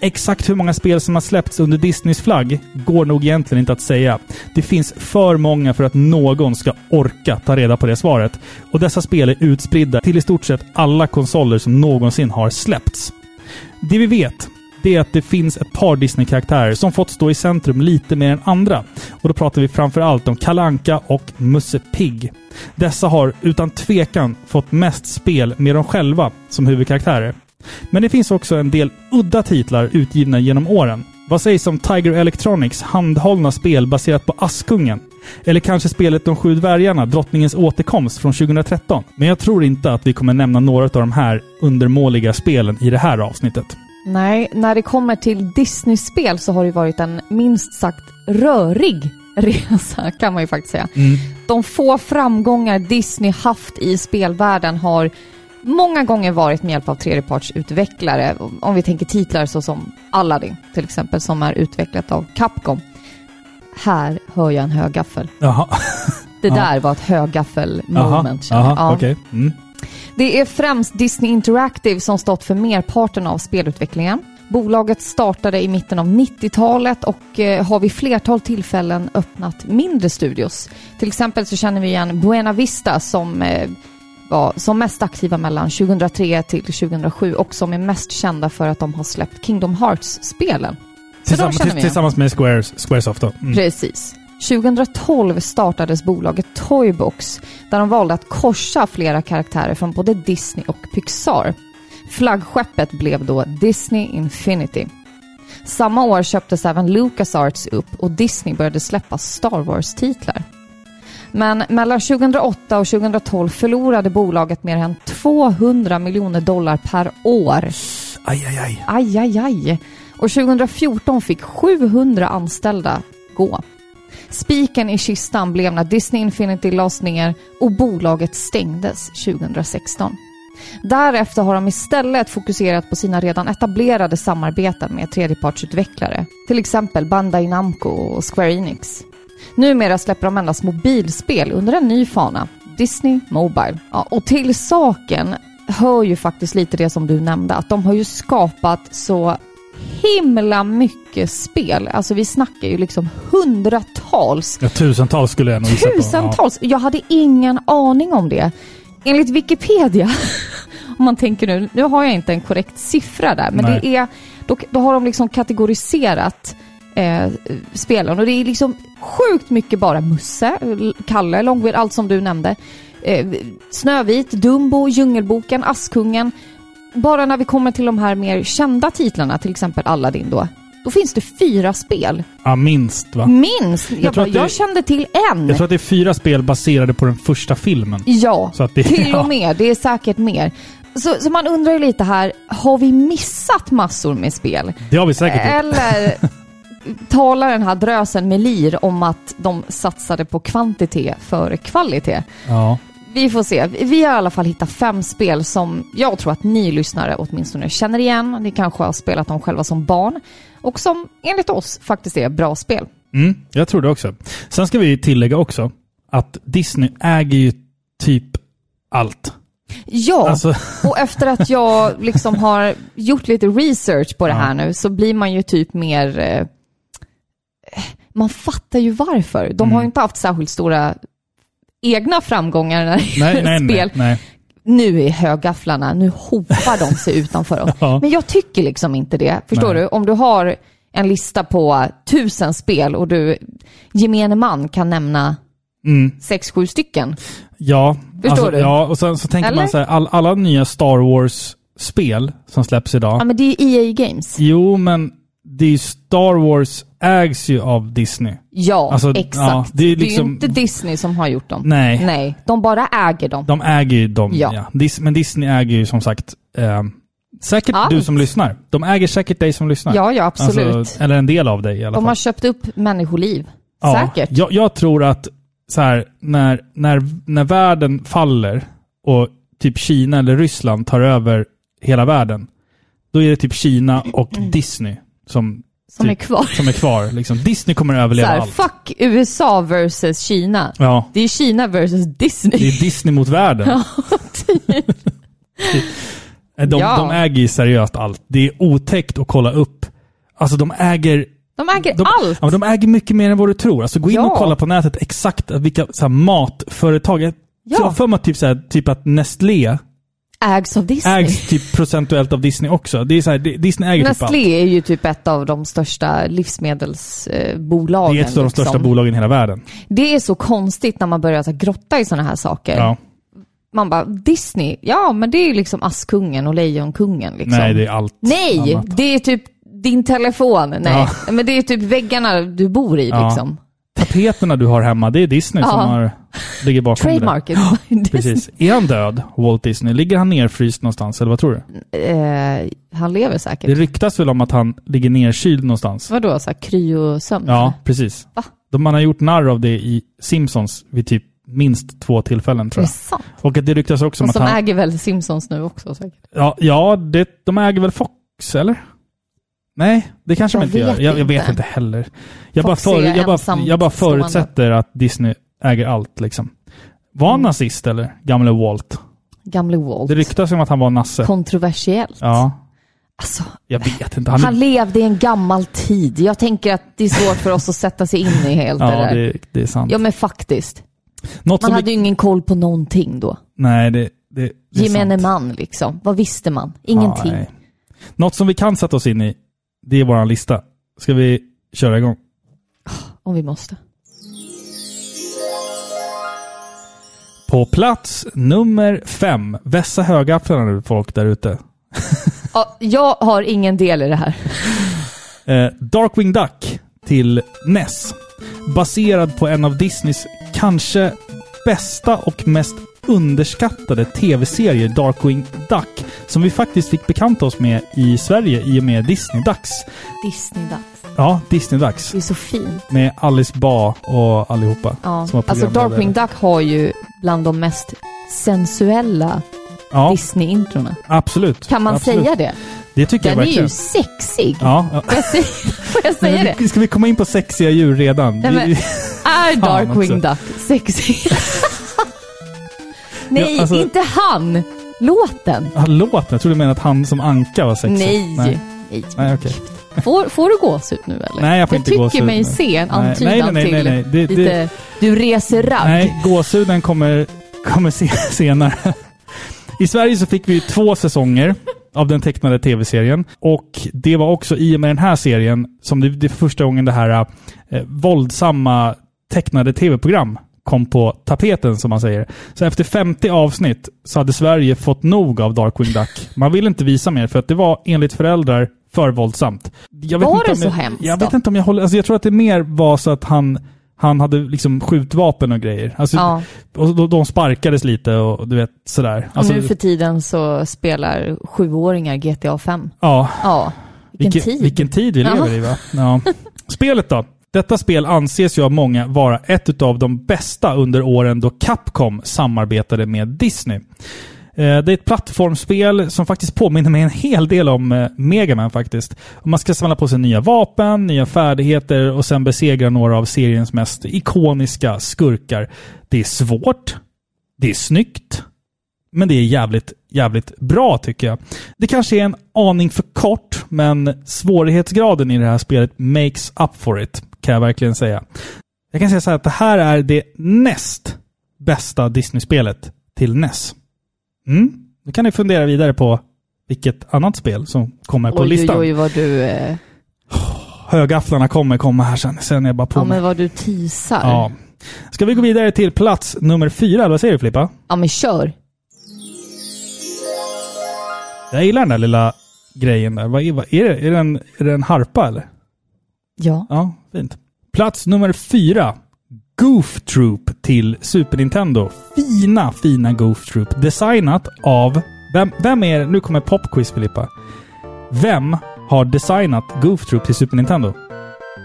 Speaker 1: Exakt hur många spel som har släppts under Disneys flagg går nog egentligen inte att säga. Det finns för många för att någon ska orka ta reda på det svaret. Och dessa spel är utspridda till i stort sett alla konsoler som någonsin har släppts. Det vi vet det är att det finns ett par Disney-karaktärer som fått stå i centrum lite mer än andra. Och då pratar vi framförallt om Kalle Anka och Musse Pigg. Dessa har utan tvekan fått mest spel med dem själva som huvudkaraktärer. Men det finns också en del udda titlar utgivna genom åren. Vad sägs om Tiger Electronics handhållna spel baserat på Askungen? Eller kanske spelet De sju dvärgarna, Drottningens återkomst från 2013? Men jag tror inte att vi kommer nämna några av de här undermåliga spelen i det här avsnittet.
Speaker 2: Nej, när det kommer till Disney-spel så har det varit en minst sagt rörig resa kan man ju faktiskt säga.
Speaker 1: Mm.
Speaker 2: De få framgångar Disney haft i spelvärlden har många gånger varit med hjälp av tredjepartsutvecklare. Om vi tänker titlar såsom Aladdin till exempel som är utvecklat av Capcom. Här hör jag en högaffel.
Speaker 1: Jaha,
Speaker 2: Det
Speaker 1: Ja.
Speaker 2: där var ett högaffel
Speaker 1: jaha,
Speaker 2: moment. känner jag.
Speaker 1: jaha,
Speaker 2: Ja.
Speaker 1: okej. Mm.
Speaker 2: Det är främst Disney Interactive som stått för merparten av spelutvecklingen. Bolaget startade i mitten av 90-talet och eh, har vid flertal tillfällen öppnat mindre studios. Till exempel så känner vi igen Buena Vista som eh, var som mest aktiva mellan 2003 till 2007 och som är mest kända för att de har släppt Kingdom Hearts-spelen. Så de
Speaker 1: Tillsammans,
Speaker 2: känner vi igen.
Speaker 1: tillsammans med Squares, Squaresoft då. Mm.
Speaker 2: Precis. 2012 startades bolaget Toybox där de valde att korsa flera karaktärer från både Disney och Pixar. Flaggskeppet blev då Disney Infinity. Samma år köptes även LucasArts upp och Disney började släppa Star Wars-titlar. Men mellan 2008 och 2012 förlorade bolaget mer än 200 miljoner dollar per år.
Speaker 1: Aj, aj, aj.
Speaker 2: Aj, aj, aj. Och 2014 fick 700 anställda gå. Spiken i kistan blev när Disney Infinity lades ner och bolaget stängdes 2016. Därefter har de istället fokuserat på sina redan etablerade samarbeten med tredjepartsutvecklare, till exempel Bandai Namco och Square Enix. Numera släpper de endast mobilspel under en ny fana, Disney Mobile. Ja, och till saken hör ju faktiskt lite det som du nämnde, att de har ju skapat så himla mycket spel. Alltså vi snackar ju liksom hundratals
Speaker 1: Ja, tusentals skulle jag nog gissa på.
Speaker 2: Tusentals! Jag hade ingen aning om det. Enligt Wikipedia, om man tänker nu, nu har jag inte en korrekt siffra där, men
Speaker 1: Nej.
Speaker 2: det är, då, då har de liksom kategoriserat eh, spelen och det är liksom sjukt mycket bara Musse, Kalle, Långben, allt som du nämnde. Eh, Snövit, Dumbo, Djungelboken, Askungen. Bara när vi kommer till de här mer kända titlarna, till exempel Aladdin då, då finns det fyra spel.
Speaker 1: Ja. ja, minst va?
Speaker 2: Mm. Minst! Jag,
Speaker 1: tror
Speaker 2: bara,
Speaker 1: att det-
Speaker 2: jag kände till en.
Speaker 1: Jag tror att det är fyra spel baserade på den första filmen.
Speaker 2: Ja,
Speaker 1: Så att det-
Speaker 2: till
Speaker 1: ja.
Speaker 2: och med. Det är säkert mer. Så, så man undrar ju lite här, har vi missat massor med spel?
Speaker 1: Det har vi säkert
Speaker 2: Eh.
Speaker 1: gjort.
Speaker 2: Eller talar den här drösen med lir om att de satsade på kvantitet före kvalitet?
Speaker 1: Ja.
Speaker 2: Vi får se. Vi har i alla fall hittat fem spel som jag tror att ni lyssnare åtminstone känner igen. Ni kanske har spelat dem själva som barn och som enligt oss faktiskt är bra spel.
Speaker 1: Mm, jag tror det också. Sen ska vi tillägga också att Disney äger ju typ allt.
Speaker 2: Ja,
Speaker 1: Alltså-
Speaker 2: och efter att jag liksom har gjort lite research på det här nu så blir man ju typ mer... eh, Man fattar ju varför. De
Speaker 1: Mm.
Speaker 2: har ju inte haft särskilt stora egna framgångar när det
Speaker 1: Nej, nej,
Speaker 2: gäller spel.
Speaker 1: nej. nej.
Speaker 2: Nu är högafflarna, nu hopar de sig utanför oss.
Speaker 1: Ja.
Speaker 2: Men jag tycker liksom inte det. Förstår
Speaker 1: Nej.
Speaker 2: du? Om du har en lista på tusen spel och du, gemene man, kan nämna
Speaker 1: Mm,
Speaker 2: sex, sju stycken.
Speaker 1: ja. alltså,
Speaker 2: Förstår du?
Speaker 1: Ja, och sen så tänker
Speaker 2: Eller?
Speaker 1: man så här, all, alla nya Star Wars-spel som släpps idag.
Speaker 2: Ja, men det är ju EA Games.
Speaker 1: Jo, men det är ju Star Wars ägs ju av Disney.
Speaker 2: Ja,
Speaker 1: Alltså,
Speaker 2: exakt.
Speaker 1: ja, det
Speaker 2: det,
Speaker 1: är
Speaker 2: är
Speaker 1: liksom-
Speaker 2: ju inte Disney som har gjort dem.
Speaker 1: Nej.
Speaker 2: Nej, de bara äger dem.
Speaker 1: De äger ju dem. Ja.
Speaker 2: Ja.
Speaker 1: Dis, men Disney äger ju som sagt eh, säkert
Speaker 2: Allt.
Speaker 1: du som lyssnar. De äger säkert dig som lyssnar.
Speaker 2: Ja, ja, absolut.
Speaker 1: Alltså, eller en del av dig i alla
Speaker 2: de
Speaker 1: fall.
Speaker 2: har köpt upp människoliv. Säkert.
Speaker 1: Jag, jag tror att så här, när, när, när världen faller och typ Kina eller Ryssland tar över hela världen, då är det typ Kina och
Speaker 2: Mm.
Speaker 1: Disney som,
Speaker 2: Som är
Speaker 1: typ,
Speaker 2: kvar.
Speaker 1: som är kvar. Liksom. Disney kommer att
Speaker 2: Så
Speaker 1: överleva
Speaker 2: här,
Speaker 1: allt.
Speaker 2: fuck USA versus Kina.
Speaker 1: Ja,
Speaker 2: Det är Kina versus
Speaker 1: det
Speaker 2: Disney.
Speaker 1: är Disney mot världen. De,
Speaker 2: typ. Ja.
Speaker 1: de äger ju seriöst allt. Det är otäckt att kolla upp. Alltså de äger
Speaker 2: De äger
Speaker 1: De,
Speaker 2: allt.
Speaker 1: Ja, men de äger mycket mer än vad du tror. Alltså, gå in
Speaker 2: Ja.
Speaker 1: och kolla på nätet exakt vilka så här, matföretag. Jag
Speaker 2: Ja.
Speaker 1: har för mig att typ, så här, typ att Nestlé
Speaker 2: Ägs av Disney.
Speaker 1: Ägs typ procentuellt av Disney också. Det är så här, det- Disney äger typ allt.
Speaker 2: Nestlé är ju typ ett av de största livsmedelsbolagen. liksom.
Speaker 1: Det är ett av de största bolagen i hela världen.
Speaker 2: Det är så konstigt när man börjar så här grotta i sådana här saker.
Speaker 1: Ja.
Speaker 2: Man bara, Disney, ja men det är ju liksom Askungen och Lejonkungen. Liksom.
Speaker 1: Nej, det är allt
Speaker 2: Nej,
Speaker 1: annat.
Speaker 2: det är typ din telefon. Nej, men det är typ väggarna du bor i
Speaker 1: Ja.
Speaker 2: liksom.
Speaker 1: Tapeterna du har hemma, det är Disney som
Speaker 2: Ja.
Speaker 1: har, ligger bakom
Speaker 2: Trademarket.
Speaker 1: det. Precis. Är han död, Walt Disney? Ligger han nerfryst någonstans, eller vad tror du?
Speaker 2: eh, han lever säkert.
Speaker 1: Det ryktas väl om att han ligger nerkyld någonstans?
Speaker 2: Vadå, så här kryosömn?
Speaker 1: Ja, precis.
Speaker 2: Mm. Va?
Speaker 1: De man har gjort narr av det i Simpsons vid typ minst två tillfällen tror
Speaker 2: Är det
Speaker 1: jag.
Speaker 2: sant?
Speaker 1: Och att det ryktas också om
Speaker 2: Som,
Speaker 1: att
Speaker 2: som
Speaker 1: han...
Speaker 2: äger väl Simpsons nu också säkert.
Speaker 1: Ja, ja det, de äger väl Fox, eller? Nej, det kanske
Speaker 2: Jag
Speaker 1: de inte gör.
Speaker 2: vet
Speaker 1: Jag, jag vet
Speaker 2: inte.
Speaker 1: inte heller. Jag
Speaker 2: Fox
Speaker 1: bara, för,
Speaker 2: är
Speaker 1: jag, bara,
Speaker 2: ensamstående.
Speaker 1: jag bara förutsätter att Disney äger allt liksom. Var
Speaker 2: Mm.
Speaker 1: han nazist eller? Gamle Walt?
Speaker 2: Gamle Walt.
Speaker 1: Det ryktas om att han var nasse.
Speaker 2: Kontroversiellt.
Speaker 1: Ja,
Speaker 2: Alltså,
Speaker 1: jag vet inte.
Speaker 2: han,
Speaker 1: Han,
Speaker 2: levde i en gammal tid. Jag tänker att det är svårt för oss att sätta sig in i helt det
Speaker 1: ja,
Speaker 2: där.
Speaker 1: det, det är sant.
Speaker 2: Ja men faktiskt.
Speaker 1: Något
Speaker 2: Man
Speaker 1: som
Speaker 2: hade
Speaker 1: vi,
Speaker 2: ju ingen koll på någonting då.
Speaker 1: nej, det, det, det är sant.
Speaker 2: Gemene man liksom. Vad visste man? Ingenting.
Speaker 1: Ja, nej. Något som vi kan sätta oss in i, det är vår lista. Ska vi köra igång?
Speaker 2: Om vi måste.
Speaker 1: På plats nummer fem. Vässa högafflarna nu folk där ute.
Speaker 2: Ja, jag har ingen del i det här.
Speaker 1: Eh, Darkwing Duck till NES. Baserad på en av Disneys kanske bästa och mest underskattade tv-serier, Darkwing Duck, som vi faktiskt fick bekanta oss med i Sverige i och med Disney-dags.
Speaker 2: Disney-dags.
Speaker 1: Ja, Disney-dags.
Speaker 2: Det är så fint.
Speaker 1: Med Alice Ba och allihopa.
Speaker 2: Ja.
Speaker 1: Som var
Speaker 2: Alltså
Speaker 1: programledare.
Speaker 2: Darkwing Duck har ju bland de mest sensuella
Speaker 1: Ja,
Speaker 2: Disney-introna.
Speaker 1: absolut.
Speaker 2: Kan man
Speaker 1: absolut.
Speaker 2: säga det?
Speaker 1: Det tycker jag
Speaker 2: Den är
Speaker 1: verkligen.
Speaker 2: ju sexig.
Speaker 1: Ja, ja.
Speaker 2: Får jag säga, får jag säga det?
Speaker 1: Ska vi komma in på sexiga djur redan?
Speaker 2: Nej, men-
Speaker 1: Vi-
Speaker 2: Är
Speaker 1: Fan alltså.
Speaker 2: Darkwing Duck sexig? Nej,
Speaker 1: Ja, alltså-
Speaker 2: inte han! Låten.
Speaker 1: Ja, låten. Jag trodde du menade att han som anka var sexig.
Speaker 2: Nej. Nej.
Speaker 1: Nej, okej.
Speaker 2: Får, får du gåsut nu eller?
Speaker 1: Nej, jag får inte
Speaker 2: tycker
Speaker 1: gåshud
Speaker 2: mig
Speaker 1: nu.
Speaker 2: se en
Speaker 1: Nej,
Speaker 2: antydan
Speaker 1: nej, nej, nej, nej. Det-
Speaker 2: till
Speaker 1: det-
Speaker 2: lite... Du reser ragg.
Speaker 1: Nej, gåshuden kommer, kommer se, senare. I Sverige så fick vi ju två säsonger av den tecknade tv-serien. Och det var också i och med den här serien som det, det är första gången det här eh, våldsamma tecknade tv-program kom på tapeten som man säger. Så efter 50 avsnitt så hade Sverige fått nog av Darkwing Duck. Man ville inte visa mer för att det var enligt föräldrar för våldsamt. Jag vet
Speaker 2: Var
Speaker 1: inte
Speaker 2: det
Speaker 1: om jag,
Speaker 2: så hemskt
Speaker 1: Jag
Speaker 2: då?
Speaker 1: vet inte om jag håller... Alltså jag tror att det mer var så att han, han hade liksom skjutvapen och grejer. Alltså,
Speaker 2: Ja,
Speaker 1: och de, de sparkades lite och du vet sådär.
Speaker 2: och
Speaker 1: Alltså,
Speaker 2: nu för tiden så spelar sjuåringar GTA 5.
Speaker 1: ja,
Speaker 2: Ja, vilken tid.
Speaker 1: vilken tid vi
Speaker 2: Ja.
Speaker 1: lever i va? Ja. Spelet då? Detta spel anses ju av många vara ett av de bästa under åren då Capcom samarbetade med Disney. Eh, Det är ett plattformsspel som faktiskt påminner mig en hel del om eh, Mega Man faktiskt. Och Man ska samla på sig nya vapen, nya färdigheter och sen besegra några av seriens mest ikoniska skurkar. Det är svårt, det är snyggt, men det är jävligt, jävligt bra tycker jag. Det kanske är en aning för kort, men svårighetsgraden i det här spelet makes up for it, kan jag verkligen säga. Jag kan säga så här att det här är det näst bästa Disney-spelet till NES. Mm. Nu kan ni fundera vidare på vilket annat spel som kommer på
Speaker 2: oj,
Speaker 1: listan.
Speaker 2: Oj, oj, vad du, eh,
Speaker 1: Högafflarna kommer komma här sen. Sen är jag bara på
Speaker 2: ja,
Speaker 1: mig.
Speaker 2: men vad du teasar.
Speaker 1: Ja. Ska vi gå vidare till plats nummer fyra? Eller vad säger du Filippa?
Speaker 2: ja men kör.
Speaker 1: Jag gillar den där lilla grejen där. Vad är, vad är det? Är det, en, är det en harpa eller?
Speaker 2: Ja.
Speaker 1: Ja, fint. Plats nummer fyra. Goof Troop till Super Nintendo. Fina, fina Goof Troop. Designat av... Vem, vem är... Nu kommer Popquiz, Filippa. Vem har designat Goof Troop till Super Nintendo?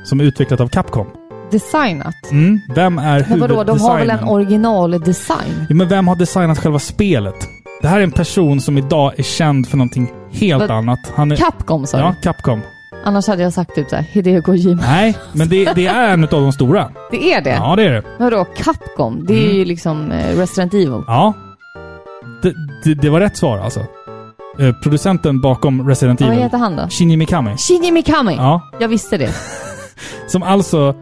Speaker 1: Som är utvecklat av Capcom.
Speaker 2: Designat.
Speaker 1: Mm. Vem är
Speaker 2: Men vadå, de har väl en
Speaker 1: huvuddesignern?
Speaker 2: originaldesign?
Speaker 1: Ja, men vem har designat själva spelet? Det här är en person som idag är känd för någonting helt
Speaker 2: Vad-
Speaker 1: annat. Han är...
Speaker 2: Capcom sa
Speaker 1: Ja,
Speaker 2: du?
Speaker 1: Capcom.
Speaker 2: Annars hade jag sagt typ såhär, Hideo Kojima.
Speaker 1: Nej, men det, det är en av de stora.
Speaker 2: Det är det?
Speaker 1: Ja, det är det.
Speaker 2: Vadå, Capcom? Det är
Speaker 1: Mm.
Speaker 2: ju liksom eh, Resident Evil.
Speaker 1: Ja. Det, det, det var rätt svar alltså. Eh, producenten bakom Resident
Speaker 2: Ja, vad
Speaker 1: Evil,
Speaker 2: heter han då?
Speaker 1: Shinji Mikami.
Speaker 2: Shinji Mikami!
Speaker 1: Ja.
Speaker 2: Jag visste det.
Speaker 1: Som alltså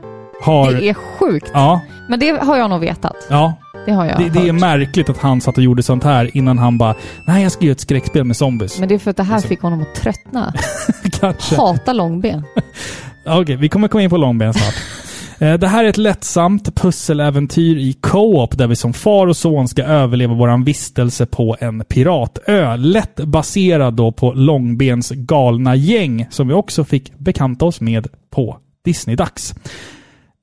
Speaker 1: har...
Speaker 2: Det är sjukt.
Speaker 1: Ja,
Speaker 2: Men det har jag nog vetat.
Speaker 1: ja.
Speaker 2: Det det har jag
Speaker 1: Det, det är
Speaker 2: hört.
Speaker 1: märkligt att han satt och gjorde sånt här innan han bara Nej, jag ska göra ett skräckspel med zombies.
Speaker 2: Men det är för att det här
Speaker 1: Liksom.
Speaker 2: fick honom att tröttna.
Speaker 1: Kanske.
Speaker 2: Hata långben.
Speaker 1: Ja, Okej, vi kommer komma in på långben snart. Eh, Det här är ett lättsamt pusseläventyr i co-op där vi som far och son ska överleva våran vistelse på en piratö. Lätt baserad då på Långbens galna gäng som vi också fick bekanta oss med på Disney-dags.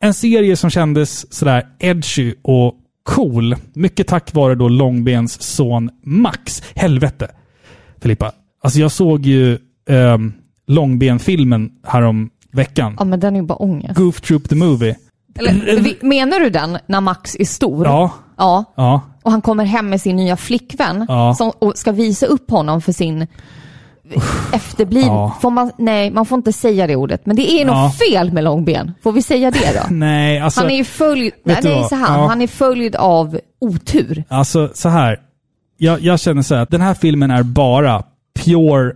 Speaker 1: En serie som kändes sådär edgy och cool. Mycket tack vare då Långbens son Max. Helvete! Filippa, alltså jag såg ju ehm, Långben-filmen härom veckan.
Speaker 2: Ja, men den är ju bara ångest.
Speaker 1: Goof Troop the Movie.
Speaker 2: Eller, vi- menar du den när Max är stor?
Speaker 1: Mm. Ja,
Speaker 2: Ja.
Speaker 1: ja.
Speaker 2: Och han kommer hem med sin nya flickvän
Speaker 1: Ja.
Speaker 2: som, och ska visa upp honom för sin efterblivna.
Speaker 1: Ja.
Speaker 2: Får man, nej, man får inte säga det ordet. Men det är
Speaker 1: Ja.
Speaker 2: något fel med långben. Får vi säga det då?
Speaker 1: Nej, alltså,
Speaker 2: Han är ju följd, nej,
Speaker 1: du
Speaker 2: det är
Speaker 1: vad?
Speaker 2: så han,
Speaker 1: Ja.
Speaker 2: han är följd av otur.
Speaker 1: alltså så här. Jag, jag känner så här att den här filmen är bara pure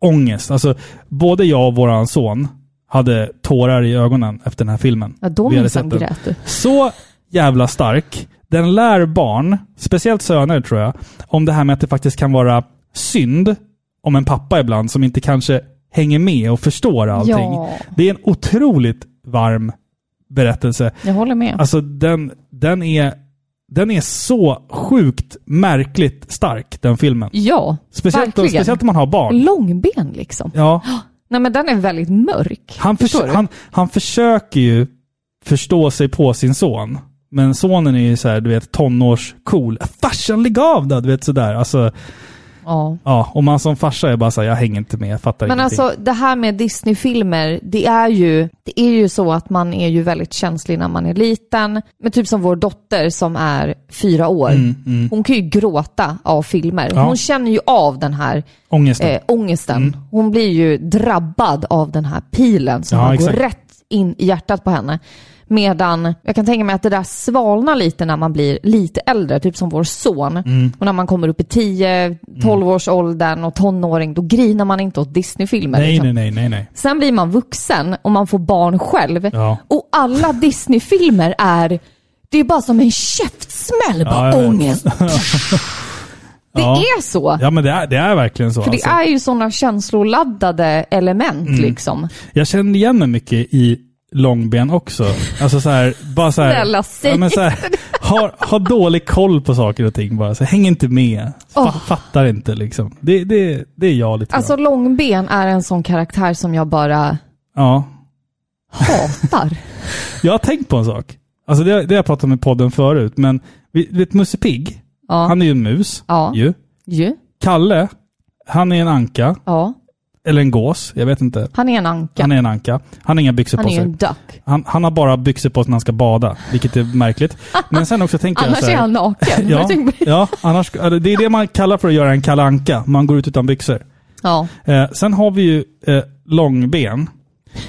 Speaker 1: ångest. Alltså, både jag och våran son hade tårar i ögonen efter den här filmen.
Speaker 2: Ja, då
Speaker 1: Vi hade sett
Speaker 2: minsann
Speaker 1: den.
Speaker 2: grät du.
Speaker 1: Så jävla stark. Den lär barn, speciellt söner tror jag, om det här med att det faktiskt kan vara synd om en pappa ibland som inte kanske hänger med och förstår allting.
Speaker 2: Ja.
Speaker 1: Det är en otroligt varm berättelse.
Speaker 2: Jag håller med.
Speaker 1: Alltså den, den, är, den är så sjukt märkligt stark, den filmen.
Speaker 2: Ja,
Speaker 1: Speciellt, då,
Speaker 2: verkligen.
Speaker 1: speciellt om man har barn.
Speaker 2: Långben liksom.
Speaker 1: Ja,
Speaker 2: Nej men den är väldigt mörk.
Speaker 1: han, förs-
Speaker 2: Förstår du?
Speaker 1: han, han försöker ju förstå sig på sin son. Men sonen är ju så här, du vet, tonårscool. Farsan, lägg av då! Du vet sådär. Alltså,
Speaker 2: Ja.
Speaker 1: ja, och man som farsa är bara såhär, jag hänger inte med, jag fattar
Speaker 2: Men
Speaker 1: ingenting.
Speaker 2: alltså det här med Disney-filmer, det är, ju, det är ju så att man är ju väldigt känslig när man är liten. Men typ som vår dotter som är fyra år. Hon kan ju gråta av filmer.
Speaker 1: Mm. Ja.
Speaker 2: Hon känner ju av den här
Speaker 1: Ångesten.
Speaker 2: eh, ångesten.
Speaker 1: Mm.
Speaker 2: Hon blir ju drabbad av den här pilen som
Speaker 1: Ja,
Speaker 2: bara
Speaker 1: exakt.
Speaker 2: går rätt in i hjärtat på henne. Medan jag kan tänka mig att det där svalnar lite när man blir lite äldre, typ som vår son.
Speaker 1: Mm.
Speaker 2: Och när man kommer upp i 10-12 års åldern och tonåring, då grinar man inte åt Disney-filmer.
Speaker 1: nej,
Speaker 2: liksom.
Speaker 1: nej, nej, nej, nej.
Speaker 2: Sen blir man vuxen och man får barn själv.
Speaker 1: Ja.
Speaker 2: Och alla Disney-filmer är, det är bara som en käftsmäll, bara
Speaker 1: jag vet.
Speaker 2: ångest. Det
Speaker 1: Ja.
Speaker 2: är så.
Speaker 1: Ja, men det är, det är verkligen så.
Speaker 2: För
Speaker 1: alltså. Mm.
Speaker 2: det är ju sådana känsloladdade element liksom.
Speaker 1: Jag kände igen mig mycket i långben också. Alltså så här, bara så här,
Speaker 2: Snälla, säg
Speaker 1: ja, men så här, ha, ha dålig koll på saker och ting bara. Så häng inte med. Fa,
Speaker 2: Åh.
Speaker 1: Fattar inte liksom. Det, det, det är jag lite grann.
Speaker 2: Alltså Långben är en sån karaktär som jag bara
Speaker 1: Ja.
Speaker 2: hatar.
Speaker 1: Jag har tänkt på en sak. Alltså det, det har jag pratat om i podden förut, men vi- du vet Musse Pigg,
Speaker 2: Ja.
Speaker 1: han är ju en mus.
Speaker 2: Ja.
Speaker 1: Ju.
Speaker 2: Ju.
Speaker 1: Kalle, han är en anka.
Speaker 2: Ja.
Speaker 1: Eller en gås, jag vet inte.
Speaker 2: Han är en anka.
Speaker 1: Han är en anka. Han har inga byxor
Speaker 2: Han
Speaker 1: på
Speaker 2: är ju
Speaker 1: sig.
Speaker 2: en duck.
Speaker 1: Han, han har bara byxor på sig när han ska bada, vilket är märkligt. Men sen också tänker jag
Speaker 2: Annars
Speaker 1: så här,
Speaker 2: är han naken. Har du
Speaker 1: Ja,
Speaker 2: tänkt på det?
Speaker 1: ja annars, eller det är det man kallar för att göra en Kalle Anka. Man går ut utan byxor.
Speaker 2: ja.
Speaker 1: Eh, sen har vi ju eh, Långben,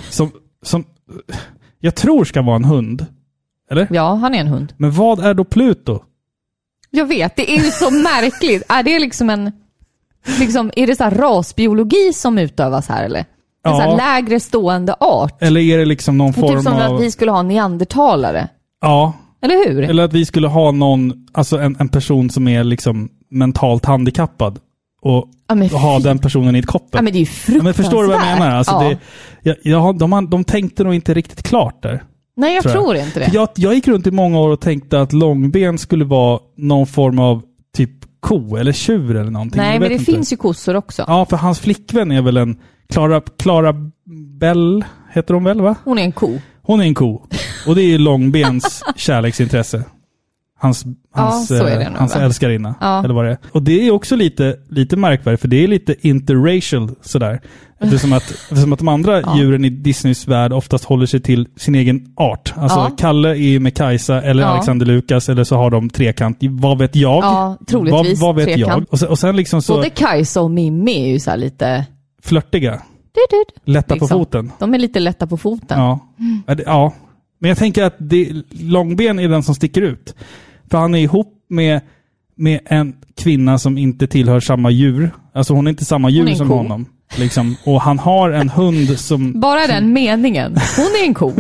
Speaker 1: som, som eh, jag tror ska vara en hund. Eller?
Speaker 2: ja, han är en hund.
Speaker 1: Men vad är då Pluto?
Speaker 2: Jag vet, det är ju så märkligt. Är det liksom en... Liksom, är det så här rasbiologi som utövas här eller? En
Speaker 1: Ja.
Speaker 2: så här lägre stående art?
Speaker 1: Eller är det liksom någon form
Speaker 2: Typ som
Speaker 1: av...
Speaker 2: att vi skulle ha neandertalare.
Speaker 1: Ja,
Speaker 2: Eller hur?
Speaker 1: eller att vi skulle ha någon, alltså en, en person som är liksom mentalt handikappad och
Speaker 2: Ja, men
Speaker 1: ha
Speaker 2: fy.
Speaker 1: den personen i ett koppel.
Speaker 2: Ja, men det är ju
Speaker 1: Ja,
Speaker 2: fruktansvärt.
Speaker 1: men förstår du vad jag menar? Alltså
Speaker 2: Ja.
Speaker 1: det, jag, jag, har- de, har- de tänkte nog inte riktigt klart där.
Speaker 2: Nej, jag
Speaker 1: tror
Speaker 2: tror,
Speaker 1: jag.
Speaker 2: inte
Speaker 1: För
Speaker 2: det.
Speaker 1: Jag, jag gick runt i många år och tänkte att långben skulle vara någon form av typ ko eller tjur eller någonting.
Speaker 2: Nej,
Speaker 1: Jag
Speaker 2: men
Speaker 1: vet
Speaker 2: det
Speaker 1: inte.
Speaker 2: finns ju kossor också.
Speaker 1: Ja, för hans flickvän är väl en Clara, Clara Bell, heter hon väl va?
Speaker 2: Hon är en ko.
Speaker 1: Hon är en ko. Och det är ju långbens kärleksintresse. Hans, hans,
Speaker 2: så är det
Speaker 1: eh,
Speaker 2: nog,
Speaker 1: hans
Speaker 2: va?
Speaker 1: älskarinna.
Speaker 2: Ja.
Speaker 1: Eller vad det är. Och det är också lite, lite märkvärdigt, för det är lite interracial sådär. Eftersom att, eftersom att de andra
Speaker 2: Ja.
Speaker 1: djuren i Disneys värld oftast håller sig till sin egen art. Alltså
Speaker 2: Ja.
Speaker 1: Kalle är ju med Kajsa eller
Speaker 2: Ja.
Speaker 1: Alexander Lukas eller så har de trekant. Vad vet jag?
Speaker 2: Ja, troligtvis
Speaker 1: Vad, vad vet
Speaker 2: trekant.
Speaker 1: jag? Och sen, och sen liksom så
Speaker 2: Både Kajsa och Mimmi är ju så här lite...
Speaker 1: flörtiga.
Speaker 2: Du, du, du.
Speaker 1: Lätta
Speaker 2: Liksom.
Speaker 1: på foten.
Speaker 2: De är lite lätta på foten.
Speaker 1: Ja.
Speaker 2: Mm.
Speaker 1: Ja, det- ja. Men jag tänker att det, Långben är den som sticker ut. För han är ihop med, med en kvinna som inte tillhör samma djur. Alltså hon är inte samma
Speaker 2: är
Speaker 1: djur
Speaker 2: en
Speaker 1: som
Speaker 2: ko.
Speaker 1: honom. Liksom. Och han har en hund som...
Speaker 2: Bara den meningen. Hon är en ko.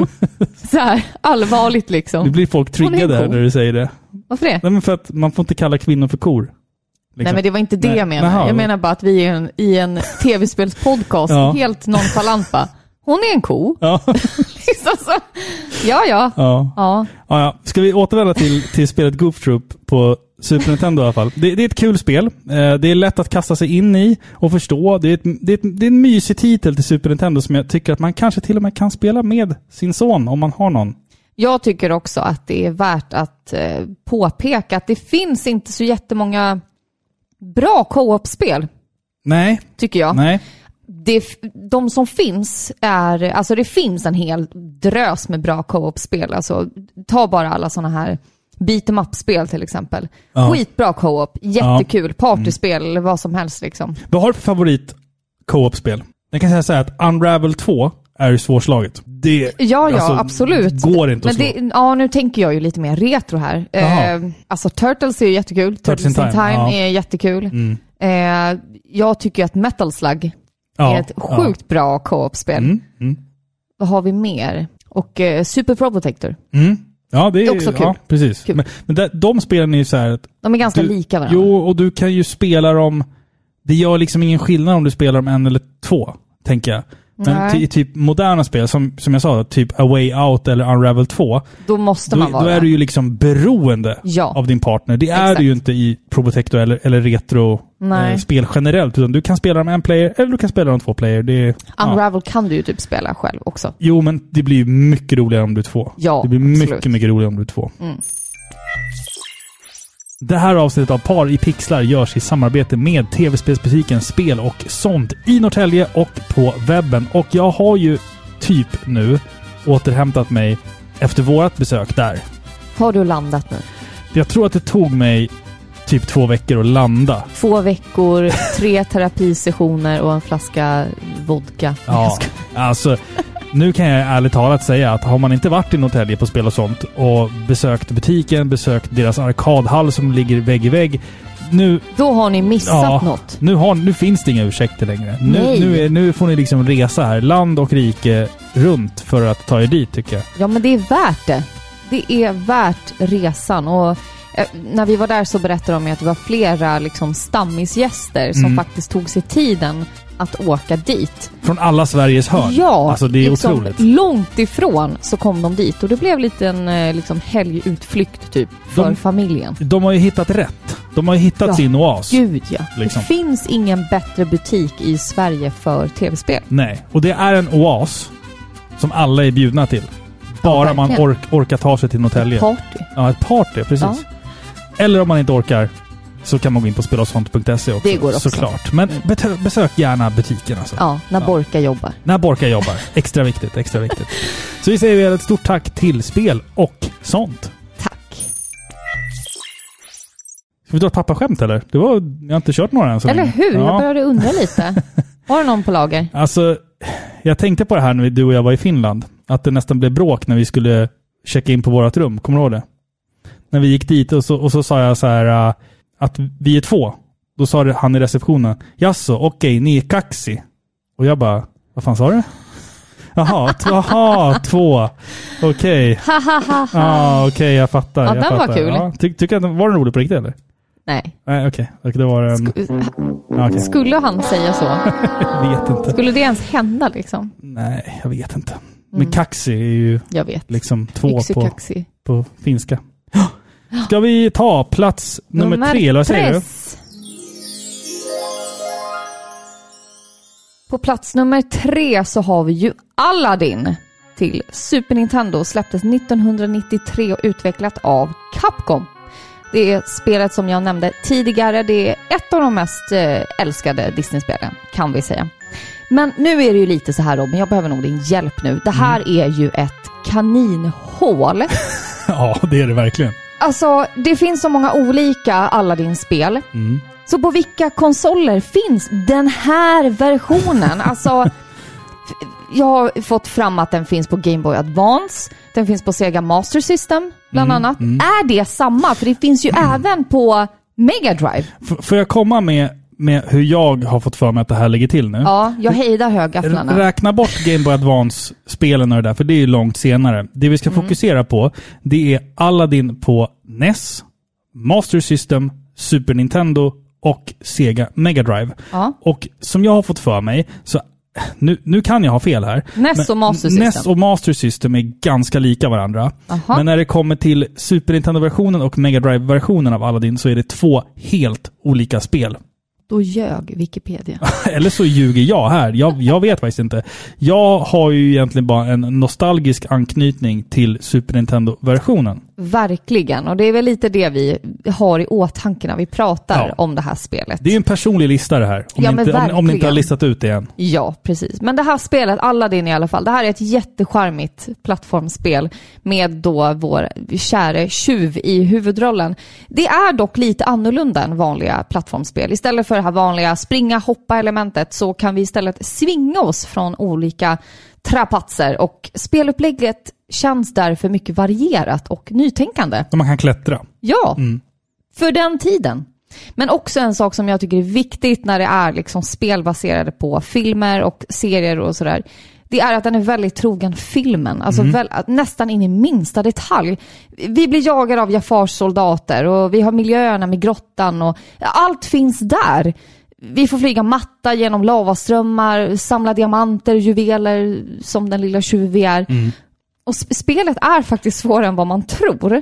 Speaker 2: Så här, allvarligt
Speaker 1: Nu
Speaker 2: liksom.
Speaker 1: blir folk
Speaker 2: Hon är en
Speaker 1: triggade här
Speaker 2: ko.
Speaker 1: när du säger det.
Speaker 2: Varför det?
Speaker 1: Nej, liksom. men för att man får inte kalla kvinnor för kor.
Speaker 2: Nej
Speaker 1: Liksom.
Speaker 2: men det var inte det
Speaker 1: Nej.
Speaker 2: jag menade.
Speaker 1: Jaha.
Speaker 2: jag menar bara att vi är en, i en tv-spelspodcast,
Speaker 1: Ja.
Speaker 2: helt nonchalant bara. Hon är en ko.
Speaker 1: Ja,
Speaker 2: Liksom så. Ja, ja.
Speaker 1: ja.
Speaker 2: Ja,
Speaker 1: Ja, ja. Ska vi återvända till, till spelet Goof Troop på Super Nintendo i alla fall. Det, det är ett kul spel. Eh, Det är lätt att kasta sig in i och förstå. Det är, ett, det, är ett, det är en mysig titel till Super Nintendo som jag tycker att man kanske till och med kan spela med sin son om man har någon.
Speaker 2: Jag tycker också att det är värt att eh, påpeka att det finns inte så jättemånga bra co-op-spel,
Speaker 1: Nej,
Speaker 2: tycker jag.
Speaker 1: nej.
Speaker 2: Det, f- de som finns är, alltså det finns en hel drös med bra co-op-spel. Alltså, ta bara alla sådana här beat em up-spel till exempel.
Speaker 1: Ja. Mm.
Speaker 2: Skitbra co-op, jättekul, partyspel eller vad som helst liksom.
Speaker 1: Vad har du för favorit co-op-spel? Jag kan säga så här att Unravel 2 är ju svårslaget. Det
Speaker 2: Ja, ja,
Speaker 1: alltså,
Speaker 2: absolut.
Speaker 1: går inte att
Speaker 2: Men
Speaker 1: slå.
Speaker 2: det, ja, nu tänker jag ju lite mer retro här.
Speaker 1: Jaha.
Speaker 2: Eh, alltså Turtles är ju jättekul. Turtles, in Time,
Speaker 1: ja.
Speaker 2: är jättekul.
Speaker 1: Mm.
Speaker 2: Eh, jag tycker ju att Metal Slug
Speaker 1: Ja,
Speaker 2: är ett sjukt bra co-op-spel.
Speaker 1: ja. Mm, mm,
Speaker 2: Vad har vi mer? Och eh, Super Pro Protector.
Speaker 1: mm. Ja, det är,
Speaker 2: Det är också kul.
Speaker 1: Ja, precis.
Speaker 2: Kul.
Speaker 1: Men, men de, de spelen är ju så här att
Speaker 2: De är ganska
Speaker 1: Du-
Speaker 2: lika varandra.
Speaker 1: Jo, och du kan ju spela dem... Det gör liksom ingen skillnad om du spelar dem en eller två, tänker jag. Men
Speaker 2: Nej.
Speaker 1: ty- i typ moderna spel, som, som jag sa, typ A Way Out eller Unravel 2,
Speaker 2: Då måste
Speaker 1: då,
Speaker 2: man
Speaker 1: då
Speaker 2: vara.
Speaker 1: är du ju liksom beroende
Speaker 2: Ja.
Speaker 1: av din partner. Det är
Speaker 2: Exakt.
Speaker 1: du ju inte i Probotector eller, eller
Speaker 2: Nej.
Speaker 1: retro-spel generellt, utan du kan spela dem en player eller du kan spela dem två player. Det är, ja.
Speaker 2: Unravel kan du ju typ spela själv också.
Speaker 1: Jo, men det blir ju mycket roligare om du är två.
Speaker 2: Ja,
Speaker 1: det blir
Speaker 2: absolut.
Speaker 1: mycket, mycket roligare om du är två.
Speaker 2: Mm.
Speaker 1: Det här avsnittet av Par i pixlar görs i samarbete med tv-spelsbutiken Spel och sånt i Norrtälje och på webben. Och jag har ju typ nu återhämtat mig efter vårt besök där.
Speaker 2: Har du landat nu?
Speaker 1: Jag tror att det tog mig typ två veckor att landa.
Speaker 2: Två veckor, tre terapisessioner och en flaska vodka.
Speaker 1: Ja, alltså nu kan jag ärligt talat säga att har man inte varit i Norrtälje på Spel och sånt och besökt butiken, besökt deras arkadhall som ligger vägg i vägg. Nu,
Speaker 2: Då har ni missat
Speaker 1: Ja.
Speaker 2: något.
Speaker 1: nu, har, nu finns det inga ursäkter längre. Nu,
Speaker 2: Nej.
Speaker 1: nu, är, nu får ni liksom resa här land och rike runt för att ta er dit tycker jag.
Speaker 2: Ja, men det är värt det. Det är värt resan. Och eh, när vi var där så berättade de ju att det var flera liksom, stammisgäster som
Speaker 1: Mm.
Speaker 2: faktiskt tog sig tiden att åka dit.
Speaker 1: Från alla Sveriges hörn.
Speaker 2: Ja,
Speaker 1: alltså det är
Speaker 2: liksom,
Speaker 1: otroligt.
Speaker 2: långt ifrån så kom de dit och det blev lite en eh, liksom, helgutflykt typ för
Speaker 1: De-
Speaker 2: familjen.
Speaker 1: De har ju hittat rätt. De har ju hittat
Speaker 2: Ja.
Speaker 1: sin oas.
Speaker 2: Gud ja.
Speaker 1: Liksom.
Speaker 2: Det finns ingen bättre butik i Sverige för tv-spel.
Speaker 1: Nej, och det är en oas som alla är bjudna till. Bara man
Speaker 2: verkligen.
Speaker 1: ork, orkar ta sig till Norrtälje.
Speaker 2: Party.
Speaker 1: Ja, ett party, precis.
Speaker 2: Ja.
Speaker 1: Eller om man inte orkar så kan man gå in på spelosont.se också.
Speaker 2: Det går också.
Speaker 1: Såklart. Men
Speaker 2: Mm.
Speaker 1: betö- besök gärna butiken alltså.
Speaker 2: Ja, när
Speaker 1: Ja.
Speaker 2: Borka jobbar.
Speaker 1: När Borka jobbar. Extra viktigt, extra viktigt. Så vi säger väl ett stort tack till spel och sånt.
Speaker 2: Tack.
Speaker 1: Ska vi dra ett pappaskämt eller? Det var, jag har inte kört några än så
Speaker 2: Eller
Speaker 1: länge.
Speaker 2: hur? Jag
Speaker 1: Ja.
Speaker 2: började undra lite. Har du någon på lager?
Speaker 1: Alltså, jag tänkte på det här när vi- du och jag var i Finland. Att det nästan blev bråk när vi skulle checka in på vårt rum. Kommer du ihåg det? När vi gick dit och så, och så sa jag så här äh, att vi är två. Då sa det- han i receptionen, jaså, okej, ni är kaxi. Och jag bara, vad fan sa du? Jaha, t- aha, två. Okej. Ja, okej, jag fattar.
Speaker 2: Ja,
Speaker 1: jag
Speaker 2: den var
Speaker 1: fattar.
Speaker 2: kul.
Speaker 1: Ja, ty, tycker jag att den, var den rolig på riktigt eller?
Speaker 2: Nej.
Speaker 1: Nej, okej. Okay. Det var en... Ja, okej.
Speaker 2: Skulle han säga så?
Speaker 1: Jag vet inte.
Speaker 2: Skulle det ens hända liksom?
Speaker 1: Nej, jag vet inte. Men
Speaker 2: Mm.
Speaker 1: kaxi är ju
Speaker 2: Jag vet.
Speaker 1: liksom två på,
Speaker 2: Yxikaxi.
Speaker 1: på finska. Ska vi ta plats nummer, tre, eller vad säger du?
Speaker 2: tres. På plats nummer tre så har vi ju Aladdin till Super Nintendo. Släpptes 1993 och utvecklat av Capcom. Det är spelet som jag nämnde tidigare. Det är ett av de mest eh, älskade Disney-spelen, kan vi säga. Men nu är det ju lite så här Robin, jag behöver nog din hjälp nu. Det här
Speaker 1: Mm.
Speaker 2: är ju ett kaninhål.
Speaker 1: Ja, det är det verkligen.
Speaker 2: Alltså, det finns så många olika Aladdin-spel.
Speaker 1: Mm.
Speaker 2: Så på vilka konsoler finns den här versionen? Alltså, f- jag har fått fram att den finns på Game Boy Advance, den finns på Sega Master System
Speaker 1: Mm,
Speaker 2: bland annat. Är det samma? För det finns ju även på Mega Drive.
Speaker 1: F- får jag komma med, med hur jag har fått för mig att det här ligger till nu?
Speaker 2: Ja, jag hejdar
Speaker 1: R-
Speaker 2: högafflarna.
Speaker 1: Räkna bort Game Boy Advance-spelen och det där,
Speaker 2: Mm.
Speaker 1: för det är ju långt senare. Det vi ska fokusera på, det är Aladdin på NES, Master System, Super Nintendo och Sega Mega Drive.
Speaker 2: Ja.
Speaker 1: Och som jag har fått för mig, så nu, nu kan jag ha fel här.
Speaker 2: NES och Master System.
Speaker 1: NES och Master System är ganska lika varandra.
Speaker 2: Aha.
Speaker 1: Men när det kommer till Super Nintendo-versionen och Mega Drive-versionen av Aladdin så är det två helt olika spel.
Speaker 2: Då ljög Wikipedia.
Speaker 1: Eller så ljuger jag här. Jag, jag vet faktiskt inte. Jag har ju egentligen bara en nostalgisk anknytning till Super Nintendo-versionen.
Speaker 2: Verkligen, och det är väl lite det vi har i åtanke när vi pratar
Speaker 1: Ja.
Speaker 2: om det här spelet.
Speaker 1: Det är ju en personlig lista det här. Om,
Speaker 2: Ja,
Speaker 1: ni
Speaker 2: men
Speaker 1: inte, om, om ni inte har
Speaker 2: verkligen.
Speaker 1: listat ut det än.
Speaker 2: Ja, precis. Men det här spelet, Aladdin i alla fall, det här är ett jättecharmigt plattformsspel med då vår käre tjuv i huvudrollen. Det är dock lite annorlunda än vanliga plattformsspel. Istället för det här vanliga springa, hoppa elementet så kan vi istället svinga oss från olika trapatser och spelupplägget känns därför mycket varierat och nytänkande.
Speaker 1: När man kan klättra.
Speaker 2: Ja, för den tiden. Men också en sak som jag tycker är viktigt när det är liksom spel baserade på filmer och serier och sådär. Det är att den är väldigt trogen filmen, alltså väl, nästan in i minsta detalj. Vi blir jagade av Jafars soldater och vi har miljöerna med grottan och allt finns där. Vi får flyga matta genom lavaströmmar, samla diamanter, juveler som den lilla tjuv vi är. Och sp- spelet är faktiskt svårare än vad man tror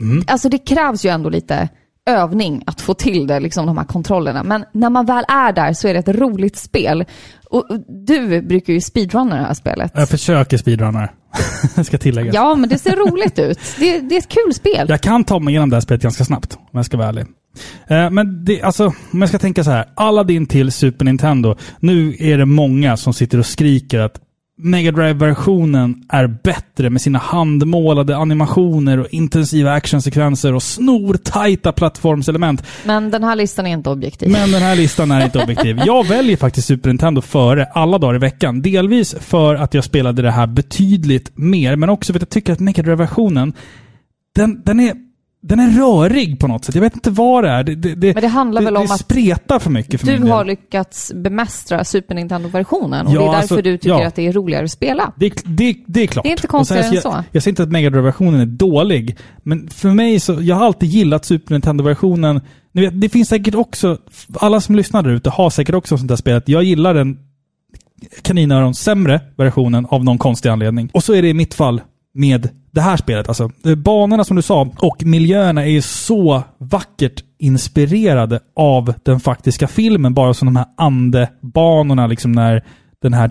Speaker 1: Mm.
Speaker 2: alltså det krävs ju ändå lite övning att få till det, liksom de här kontrollerna. Men när man väl är där så är det ett roligt spel. Och och du brukar ju speedrunna det här spelet.
Speaker 1: Jag försöker speedrunna det. ska tilläggas.
Speaker 2: Ja, men det ser roligt ut. Det, det är ett kul spel.
Speaker 1: Jag kan ta mig igenom det här spelet ganska snabbt, om jag ska vara ärlig. Eh, Men det, alltså, om jag ska tänka så här. Aladdin till Super Nintendo. Nu är det många som sitter och skriker att Mega drive versionen är bättre med sina handmålade animationer och intensiva actionsekvenser och snortajta plattformselement.
Speaker 2: Men den här listan är inte objektiv.
Speaker 1: Men den här listan är inte objektiv. Jag väljer faktiskt Super Nintendo före alla dagar i veckan. Delvis för att jag spelade det här betydligt mer, men också för att jag tycker att Mega versionen den, den, är, den är rörig på något sätt. Jag vet inte vad det är. Det, det, det,
Speaker 2: Men det handlar väl om
Speaker 1: det
Speaker 2: att
Speaker 1: spretar för mycket för min
Speaker 2: Du
Speaker 1: del.
Speaker 2: har lyckats bemästra Super Nintendo-versionen och
Speaker 1: Ja,
Speaker 2: det är därför
Speaker 1: alltså,
Speaker 2: du tycker
Speaker 1: ja.
Speaker 2: att det är roligare att spela.
Speaker 1: Det, det, det är klart.
Speaker 2: Det är inte
Speaker 1: Och sen,
Speaker 2: konstigare än
Speaker 1: jag,
Speaker 2: så.
Speaker 1: Jag säger inte att Mega versionen är dålig, men för mig så, jag har alltid gillat Super Nintendo-versionen. Ni vet, Det finns säkert också, alla som lyssnar där ute har säkert också sånt där spelet. Jag gillar den kaninöron sämre versionen av någon konstig anledning. Och så är det i mitt fall med det här spelet. Alltså, eh, banorna som du sa och miljöerna är ju så vackert inspirerade av den faktiska filmen. Bara som de här andebanorna liksom när den här...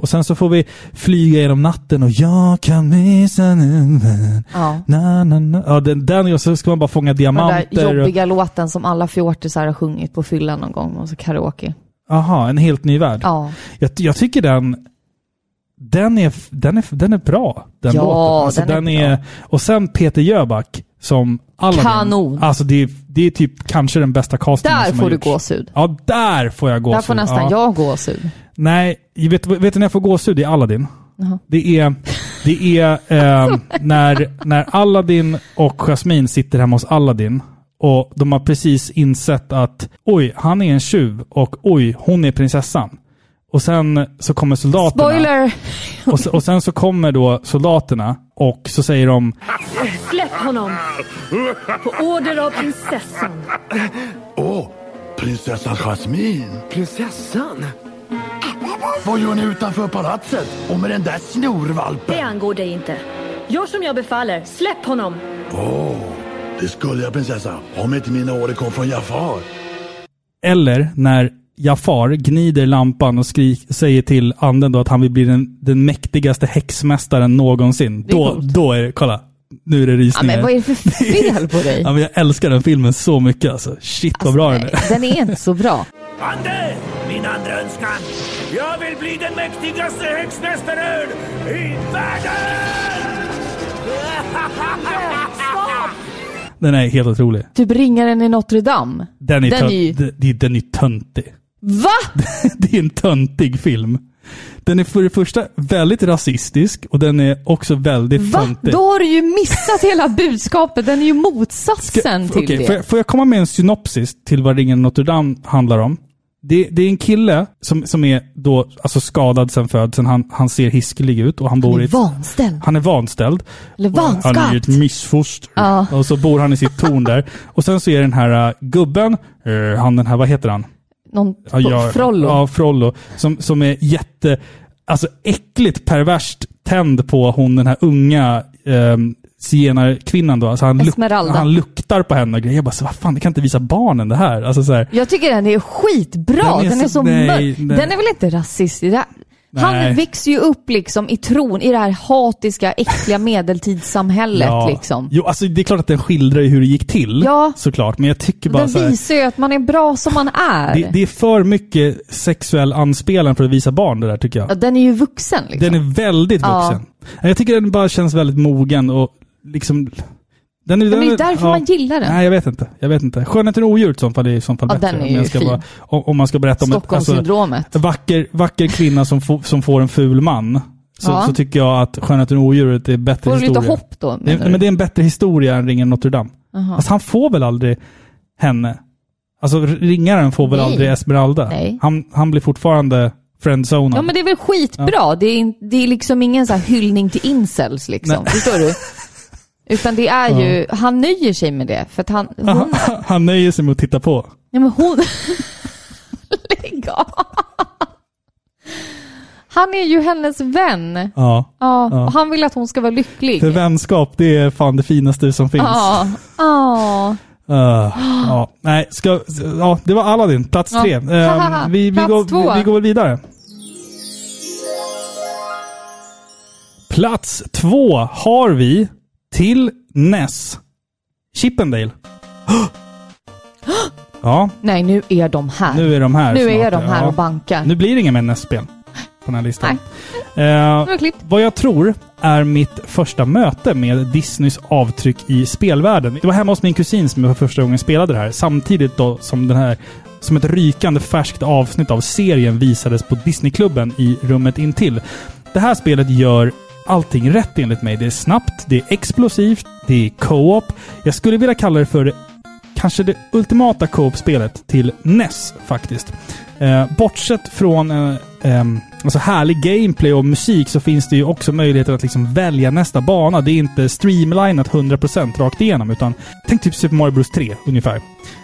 Speaker 1: Och sen så får vi flyga genom natten och jag kan missa nu.
Speaker 2: Ja.
Speaker 1: Na, na, na. Ja, den, den och så ska man bara fånga
Speaker 2: Den där
Speaker 1: diamanter. och-
Speaker 2: jobbiga låten som alla fjortisar har sjungit på fyllan någon gång, och så karaoke.
Speaker 1: Aha, en helt ny värld.
Speaker 2: Ja,
Speaker 1: Jag, jag tycker den, den är, den är, den är bra, den
Speaker 2: Ja,
Speaker 1: låten. Alltså,
Speaker 2: den
Speaker 1: den
Speaker 2: är
Speaker 1: är Och sen Peter Jöback som Aladdin.
Speaker 2: Kanon.
Speaker 1: Alltså det är, det är typ kanske den bästa castingen
Speaker 2: där
Speaker 1: som
Speaker 2: får
Speaker 1: har
Speaker 2: du
Speaker 1: gjorts.
Speaker 2: gåshud.
Speaker 1: Ja, där får jag gåshud.
Speaker 2: Där får nästan
Speaker 1: ja.
Speaker 2: jag gåshud.
Speaker 1: Nej, vet, vet du när jag får gåshud i Aladdin?
Speaker 2: Jaha.
Speaker 1: Det är, det är eh, när, när Aladdin och Jasmine sitter hemma hos Aladdin och de har precis insett att oj, han är en tjuv och oj, hon är prinsessan. Och sen så kommer soldaterna.
Speaker 2: Spoiler!
Speaker 1: Och, s- och sen så kommer då soldaterna och så säger de
Speaker 3: Släpp honom! På order av prinsessan.
Speaker 4: Åh, prinsessan Jasmine.
Speaker 5: Prinsessan?
Speaker 4: Vad gör ni utanför palatset? Och med den där
Speaker 3: Det
Speaker 4: snorvalpen?
Speaker 3: angår dig inte. Gör som jag befaller. Släpp honom!
Speaker 4: Det skulle jag prinsessa, om inte mina order kom från Jafar.
Speaker 1: Eller när Jafar gnider lampan och skrik, säger till anden då att han vill bli den, den mäktigaste häxmästaren någonsin.
Speaker 2: är
Speaker 1: Då,
Speaker 2: coolt.
Speaker 1: då är det, kolla, nu är det
Speaker 2: Ja,
Speaker 1: rysningar.
Speaker 2: men vad är det för fel på dig?
Speaker 1: Ja, men jag älskar den filmen så mycket alltså. Shit vad bra den är.
Speaker 2: Nej, den är inte så bra.
Speaker 6: Ande, min andra önskan. Jag vill bli den mäktigaste häxmästaren i världen!
Speaker 1: Den är helt otrolig.
Speaker 2: Typ ringaren i Notre Dame.
Speaker 1: Den är,
Speaker 2: Den
Speaker 1: tön-
Speaker 2: är ju-
Speaker 1: den- den- den är töntig.
Speaker 2: Va?
Speaker 1: det är en töntig film. Den är för det första väldigt rasistisk och den är också väldigt
Speaker 2: Va?
Speaker 1: töntig.
Speaker 2: Då har du ju missat hela budskapet. Den är ju motsatsen
Speaker 1: Ska-
Speaker 2: till
Speaker 1: okej,
Speaker 2: det.
Speaker 1: får, jag, får jag komma med en synopsis till vad Ringen Notre Dame handlar om? Det, det är en kille som, som är då, alltså skadad sen födseln. Han, han ser hiskelig ut och han bor
Speaker 2: Han
Speaker 1: i
Speaker 2: är
Speaker 1: ett
Speaker 2: vanställd.
Speaker 1: han är vanställd.
Speaker 2: Eller vanskapt.
Speaker 1: Han är ju ett missfoster.
Speaker 2: Ja.
Speaker 1: Och så bor han i sitt torn där. Och sen så är den här äh, gubben, eh, han den här, vad heter han?
Speaker 2: Någon
Speaker 1: Ja, jag-
Speaker 2: Frollo.
Speaker 1: Ja, Frollo. Som, som är jätte, alltså äckligt perverst tänd på hon den här unga um, zigenarkvinnan då. Alltså han, luk-
Speaker 2: Esmeralda.
Speaker 1: han luktar på henne och grejer. Jag bara, så, vad fan, det kan inte visa barnen det här. Alltså så här.
Speaker 2: Jag tycker den är skitbra. Den är, så,
Speaker 1: nej,
Speaker 2: mörk.
Speaker 1: nej.
Speaker 2: Den är väl inte rasistisk? Det-
Speaker 1: Nej.
Speaker 2: Han växer ju upp liksom i tron i det här hatiska, äckliga medeltidssamhället.
Speaker 1: Ja.
Speaker 2: Liksom.
Speaker 1: Jo, alltså det är klart att den skildrar ju hur det gick till.
Speaker 2: Ja.
Speaker 1: Såklart, men jag tycker bara
Speaker 2: Den
Speaker 1: så här,
Speaker 2: visar ju att man är bra som man är.
Speaker 1: Det, det är för mycket sexuell anspelan för att visa barn det där tycker jag.
Speaker 2: Ja, den är ju vuxen liksom.
Speaker 1: Den är väldigt
Speaker 2: Ja.
Speaker 1: vuxen. Jag tycker den bara känns väldigt mogen och liksom... Den är,
Speaker 2: men det är därför man gillar den.
Speaker 1: Nej, jag vet inte. Jag vet inte. Skönheten och odjuret som fall är i så fall
Speaker 2: Ja,
Speaker 1: bättre.
Speaker 2: den är
Speaker 1: om, jag
Speaker 2: ju
Speaker 1: ska
Speaker 2: fin.
Speaker 1: bara, om, om man ska berätta om ett...
Speaker 2: Stockholmssyndromet.
Speaker 1: alltså, en vacker, vacker kvinna som, får- som får en ful man. Så,
Speaker 2: Ja.
Speaker 1: så tycker jag att Skönheten och odjuret är bättre
Speaker 2: Får du
Speaker 1: historia.
Speaker 2: lite hopp då?
Speaker 1: det,
Speaker 2: menar
Speaker 1: men
Speaker 2: du?
Speaker 1: det är en bättre historia än Ringen Notre Dame.
Speaker 2: Jaha.
Speaker 1: Alltså han får väl aldrig henne? Alltså ringaren får väl
Speaker 2: Nej.
Speaker 1: aldrig Esmeralda?
Speaker 2: Nej.
Speaker 1: Han, han blir fortfarande friendzonad.
Speaker 2: Ja men det är väl skitbra. Det, är, in- det är liksom ingen så här hyllning till incels liksom. Förstår du? Utan det är ju, han nöjer sig med det. För att han, hon,
Speaker 1: han, han nöjer sig med att titta på.
Speaker 2: Ja, men hon... Lägg av! Han är ju hennes vän.
Speaker 1: Ja.
Speaker 2: Ja, Och han vill att hon ska vara lycklig.
Speaker 1: För vänskap, det är fan det finaste som finns.
Speaker 2: Ja, ja.
Speaker 1: Ah, ja. Nej, ska, ja, det var Aladdin, plats
Speaker 2: Ja.
Speaker 1: tre.
Speaker 2: Haha,
Speaker 1: Eh, vi, vi,
Speaker 2: plats
Speaker 1: går,
Speaker 2: två.
Speaker 1: vi, vi går väl vidare. Plats två har vi till Ness Chippendale. ja,
Speaker 2: Nej, nu är de här.
Speaker 1: nu är de här.
Speaker 2: Nu är
Speaker 1: snart.
Speaker 2: de här
Speaker 1: Ja.
Speaker 2: och bankar.
Speaker 1: Nu blir det inga mer Ness-spel på den här listan. Eh,
Speaker 2: Nu har vi klippt.
Speaker 1: vad jag tror är mitt första möte med Disneys avtryck i spelvärlden. Det var hemma hos min kusin som jag för första gången spelade det här. Samtidigt då som den här som ett rykande färskt avsnitt av serien visades på Disneyklubben i rummet intill. Det här spelet gör allting rätt enligt mig. Det är snabbt, det är explosivt, det är co-op. Jag skulle vilja kalla det för kanske det ultimata co-op-spelet till NES faktiskt. Eh, bortsett från eh, ehm, alltså härlig gameplay och musik så finns det ju också möjligheter att liksom välja nästa bana. Det är inte streamlinat 100% rakt igenom utan tänk typ Super Mario Bros 3 ungefär.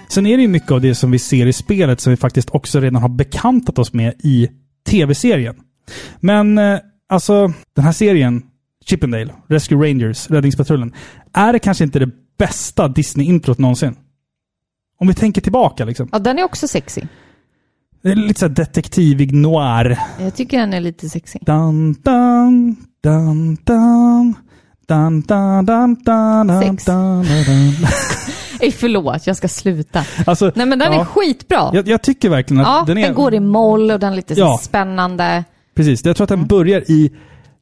Speaker 1: Sen är det ju mycket av det som vi ser i spelet som vi faktiskt också redan har bekantat oss med i tv-serien. Men eh, alltså, den här serien, Chippendale, Rescue Rangers, Räddningspatrullen, är det kanske inte det bästa Disney-introt någonsin? Om vi tänker tillbaka liksom.
Speaker 2: Ja, den är också sexy.
Speaker 1: Det är lite såhär detektivig noir.
Speaker 2: Jag tycker den är lite sexy.
Speaker 1: Dun, dun, dun, dun. Dun, dun, dun, dun, dun,
Speaker 2: Sex.
Speaker 1: dun, dun, dun.
Speaker 2: Ej, förlåt, jag ska sluta.
Speaker 1: Alltså,
Speaker 2: Nej, men den
Speaker 1: ja,
Speaker 2: är skitbra.
Speaker 1: jag, jag tycker verkligen att
Speaker 2: ja,
Speaker 1: den
Speaker 2: den,
Speaker 1: är...
Speaker 2: går i moll och den är lite så
Speaker 1: Ja.
Speaker 2: spännande.
Speaker 1: Precis, jag tror
Speaker 2: Mm.
Speaker 1: att den börjar i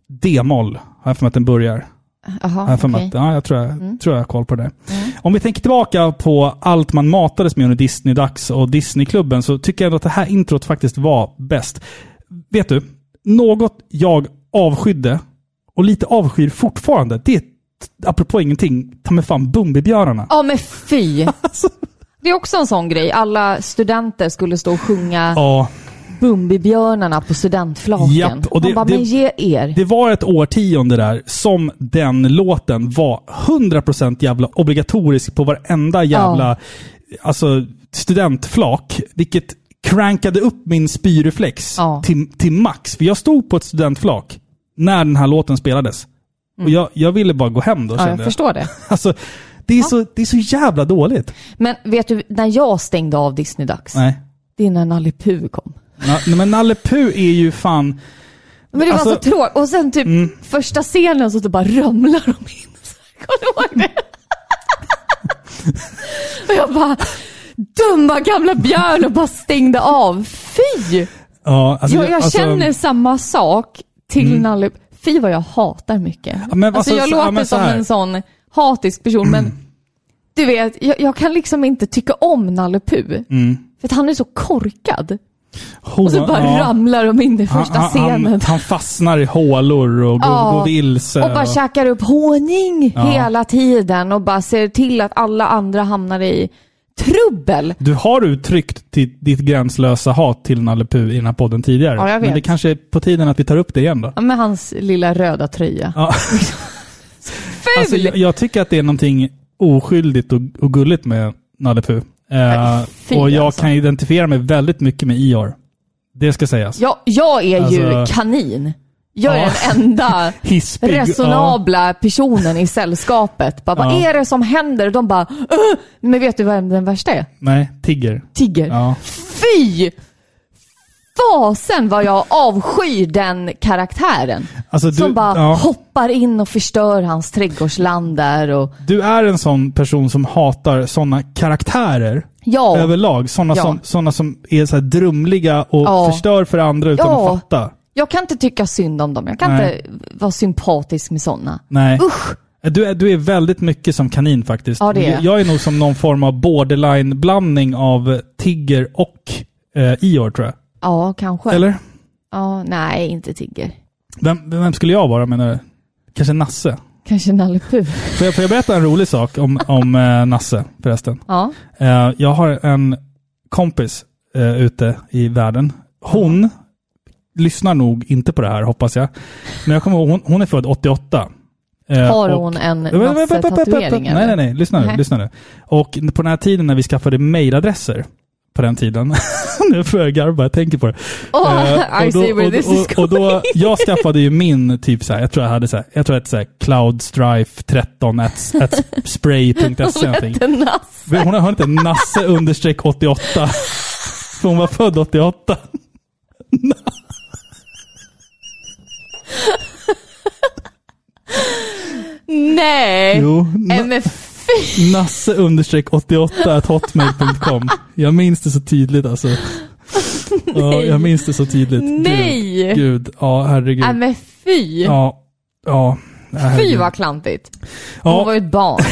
Speaker 1: D-moll. Har jag för mig att den börjar.
Speaker 2: Jaha,
Speaker 1: Har jag för mig
Speaker 2: okej.
Speaker 1: att, ja, jag tror jag, tror jag har koll på det. Om vi tänker tillbaka på allt man matades med under Disney-dags och Disneyklubben så tycker jag ändå att det här introt faktiskt var bäst. Vet du? Något jag avskydde och lite avskyr fortfarande, det är apropå ingenting, ta mig fan Bumbibjörnarna.
Speaker 2: Ja, men fy!
Speaker 1: Alltså.
Speaker 2: Det är också en sån grej. Alla studenter skulle stå och sjunga
Speaker 1: Ja,
Speaker 2: Bumbibjörnarna på studentflaken.
Speaker 1: Japp, och det-
Speaker 2: Man bara,
Speaker 1: det-
Speaker 2: men ge er.
Speaker 1: det var ett årtionde där som den låten var 100% jävla obligatorisk på varenda jävla alltså, studentflak, vilket crankade upp min spyreflex
Speaker 2: Ja.
Speaker 1: till, till max. För jag stod på ett studentflak när den här låten spelades. Och jag, jag ville bara gå hem då,
Speaker 2: Mm. ja, jag
Speaker 1: kände jag.
Speaker 2: förstår det.
Speaker 1: Alltså, det, är så, det är så jävla dåligt.
Speaker 2: Men vet du, när jag stängde av Disney-dags,
Speaker 1: Nej.
Speaker 2: det är när Nalle Puh kom.
Speaker 1: Na- Nej, men Nalle Puh är ju fan...
Speaker 2: Men det
Speaker 1: Alltså- Mm.
Speaker 2: var så tråkigt. Och sen typ första scenen så typ bara ramlar de in. Kommer du ihåg det? och jag bara, dumma gamla björn och bara stängde av. Fy!
Speaker 1: Ja, alltså,
Speaker 2: Jag, jag
Speaker 1: alltså- Mm.
Speaker 2: känner samma sak till Nalle. Fy vad jag hatar mycket.
Speaker 1: Ja, men
Speaker 2: alltså,
Speaker 1: alltså,
Speaker 2: jag
Speaker 1: så- ja,
Speaker 2: låter
Speaker 1: men så
Speaker 2: som
Speaker 1: här. Mm.
Speaker 2: en sån hatisk person, men du vet, jag, jag kan liksom inte tycka om Nalle Puh. För att han är så korkad. Och så
Speaker 1: Hoa-
Speaker 2: bara
Speaker 1: Mm. ja.
Speaker 2: ramlar de in i första
Speaker 1: han, han-
Speaker 2: scenen.
Speaker 1: Han, han fastnar i hålor och går,
Speaker 2: Ja,
Speaker 1: går vilse.
Speaker 2: och bara
Speaker 1: och-
Speaker 2: käkar upp honung hela tiden och bara ser till att alla andra hamnar i trubbel.
Speaker 1: Du har uttryckt ditt, ditt gränslösa hat till Nalle Puh i den här podden tidigare.
Speaker 2: Ja, jag vet.
Speaker 1: Men det kanske är på tiden att vi tar upp det igen då.
Speaker 2: Ja, Med hans lilla röda tröja.
Speaker 1: Ja.
Speaker 2: Ful!
Speaker 1: Alltså, jag, jag tycker att det är någonting oskyldigt och, och gulligt med Nalle Puh. Eh,
Speaker 2: fy
Speaker 1: och jag
Speaker 2: alltså.
Speaker 1: kan identifiera mig väldigt mycket med IR. Det ska sägas.
Speaker 2: Ja, jag är ju
Speaker 1: Alltså-
Speaker 2: kanin. Jag är
Speaker 1: Ja.
Speaker 2: den enda
Speaker 1: Hispig,
Speaker 2: resonabla personen i sällskapet. Bara, Vad
Speaker 1: Ja.
Speaker 2: är det som händer? Och de bara "Åh!" Men vet du vem den värsta är?
Speaker 1: Nej, tigger.
Speaker 2: Tigger.
Speaker 1: Ja.
Speaker 2: Fy! Fasen vad jag avskyr den karaktären.
Speaker 1: Alltså, du,
Speaker 2: som bara
Speaker 1: ja.
Speaker 2: hoppar in och förstör hans trädgårdsland där. Och,
Speaker 1: Du är en sån person som hatar sådana karaktärer
Speaker 2: ja,
Speaker 1: överlag. Sådana
Speaker 2: Ja.
Speaker 1: som, såna som är så här drumliga och
Speaker 2: Ja.
Speaker 1: förstör för andra utan
Speaker 2: Ja.
Speaker 1: att fatta.
Speaker 2: jag kan inte tycka synd om dem. Jag kan
Speaker 1: Nej.
Speaker 2: inte vara sympatisk med sådana.
Speaker 1: Nej. Äh, Du är, du är väldigt mycket som kanin faktiskt.
Speaker 2: Ja, det är jag.
Speaker 1: Jag är nog som någon form av borderline-blandning av tigger och eh, Ior tror jag.
Speaker 2: Ja, kanske.
Speaker 1: Eller?
Speaker 2: Ja, nej, inte tigger.
Speaker 1: Vem, vem skulle jag vara menar du? Kanske Nasse?
Speaker 2: Kanske Nalle Puh.
Speaker 1: Får jag, får jag berätta en rolig sak om, om eh, Nasse förresten?
Speaker 2: Ja.
Speaker 1: Eh, jag har en kompis eh, ute i världen. Hon lyssnar nog inte på det här, hoppas jag. Men jag kommer ihåg, hon, hon är född 88. Eh,
Speaker 2: Har
Speaker 1: och-
Speaker 2: hon en
Speaker 1: Vänta, vänta, vänta, vänta, vänta.
Speaker 2: Nasse-tatuering?
Speaker 1: Nej, nej, nej. Lyssna nu.
Speaker 2: Nej.
Speaker 1: Lyssna nu. Och på den här tiden när vi skaffade mejladresser, på den tiden. nu får jag garva, jag tänker på det. Eh,
Speaker 2: Oh, I see where this is
Speaker 1: och, och
Speaker 2: going.
Speaker 1: då, jag skaffade ju min typ så här, jag tror jag hade så här, jag tror jag hette så här cloudstrife13 at, at spray.se någonting.
Speaker 2: Den Nasse.
Speaker 1: Hon har inte Nasse understreck 88. För hon var född 88.
Speaker 2: Nej!
Speaker 1: Jo,
Speaker 2: Nej,
Speaker 1: na,
Speaker 2: men fy!
Speaker 1: Nasse understreck 88 at hotmail.com. Jag minns det så tydligt alltså. Ja, jag minns det så tydligt. Gud,
Speaker 2: Nej.
Speaker 1: Gud, ja herregud.
Speaker 2: Nej, men fy!
Speaker 1: Ja, ja.
Speaker 2: Fy
Speaker 1: herregud.
Speaker 2: vad klantigt. Hon
Speaker 1: Ja.
Speaker 2: var ju ett barn.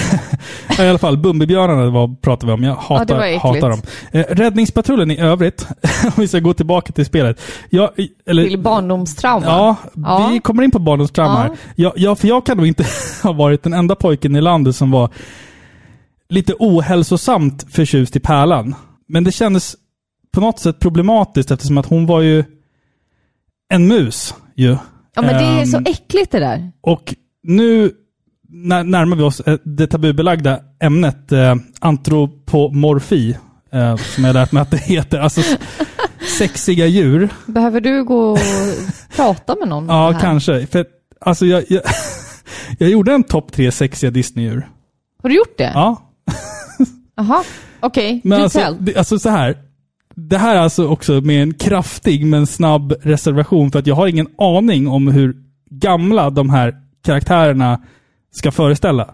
Speaker 1: Ja, I alla fall, Bumbibjörnarna var, pratade vi om. Jag
Speaker 2: det
Speaker 1: hatar,
Speaker 2: var äckligt.
Speaker 1: hatar dem. Eh, Räddningspatrullen i övrigt, om vi ska gå tillbaka till spelet. Jag, i- eller,
Speaker 2: Till barndomstrauma.
Speaker 1: ja,
Speaker 2: Ja.
Speaker 1: vi kommer in på barndomstrauma
Speaker 2: Ja.
Speaker 1: här. Jag, jag, för jag kan nog inte ha varit den enda pojken i landet som var lite ohälsosamt förtjust i Pärlan. Men det kändes på något sätt problematiskt eftersom att hon var ju en mus. Ju.
Speaker 2: Ja, men det är så
Speaker 1: Ehm,
Speaker 2: äckligt det där.
Speaker 1: och nu när- närmar vi oss eh, det tabubelagda ämnet eh, antropomorfi, eh, som jag lärt mig att det heter. Alltså s- sexiga djur.
Speaker 2: Behöver du gå och prata med någon? om
Speaker 1: Ja,
Speaker 2: det här?
Speaker 1: kanske. För, att, alltså, jag, jag, jag gjorde en topp tre sexiga Disneydjur.
Speaker 2: Har du gjort det?
Speaker 1: Ja,
Speaker 2: Jaha, okej.
Speaker 1: men
Speaker 2: Du
Speaker 1: alltså,
Speaker 2: tell.
Speaker 1: det, alltså så här. Det här är alltså också med en kraftig men snabb reservation för att jag har ingen aning om hur gamla de här karaktärerna ska föreställa.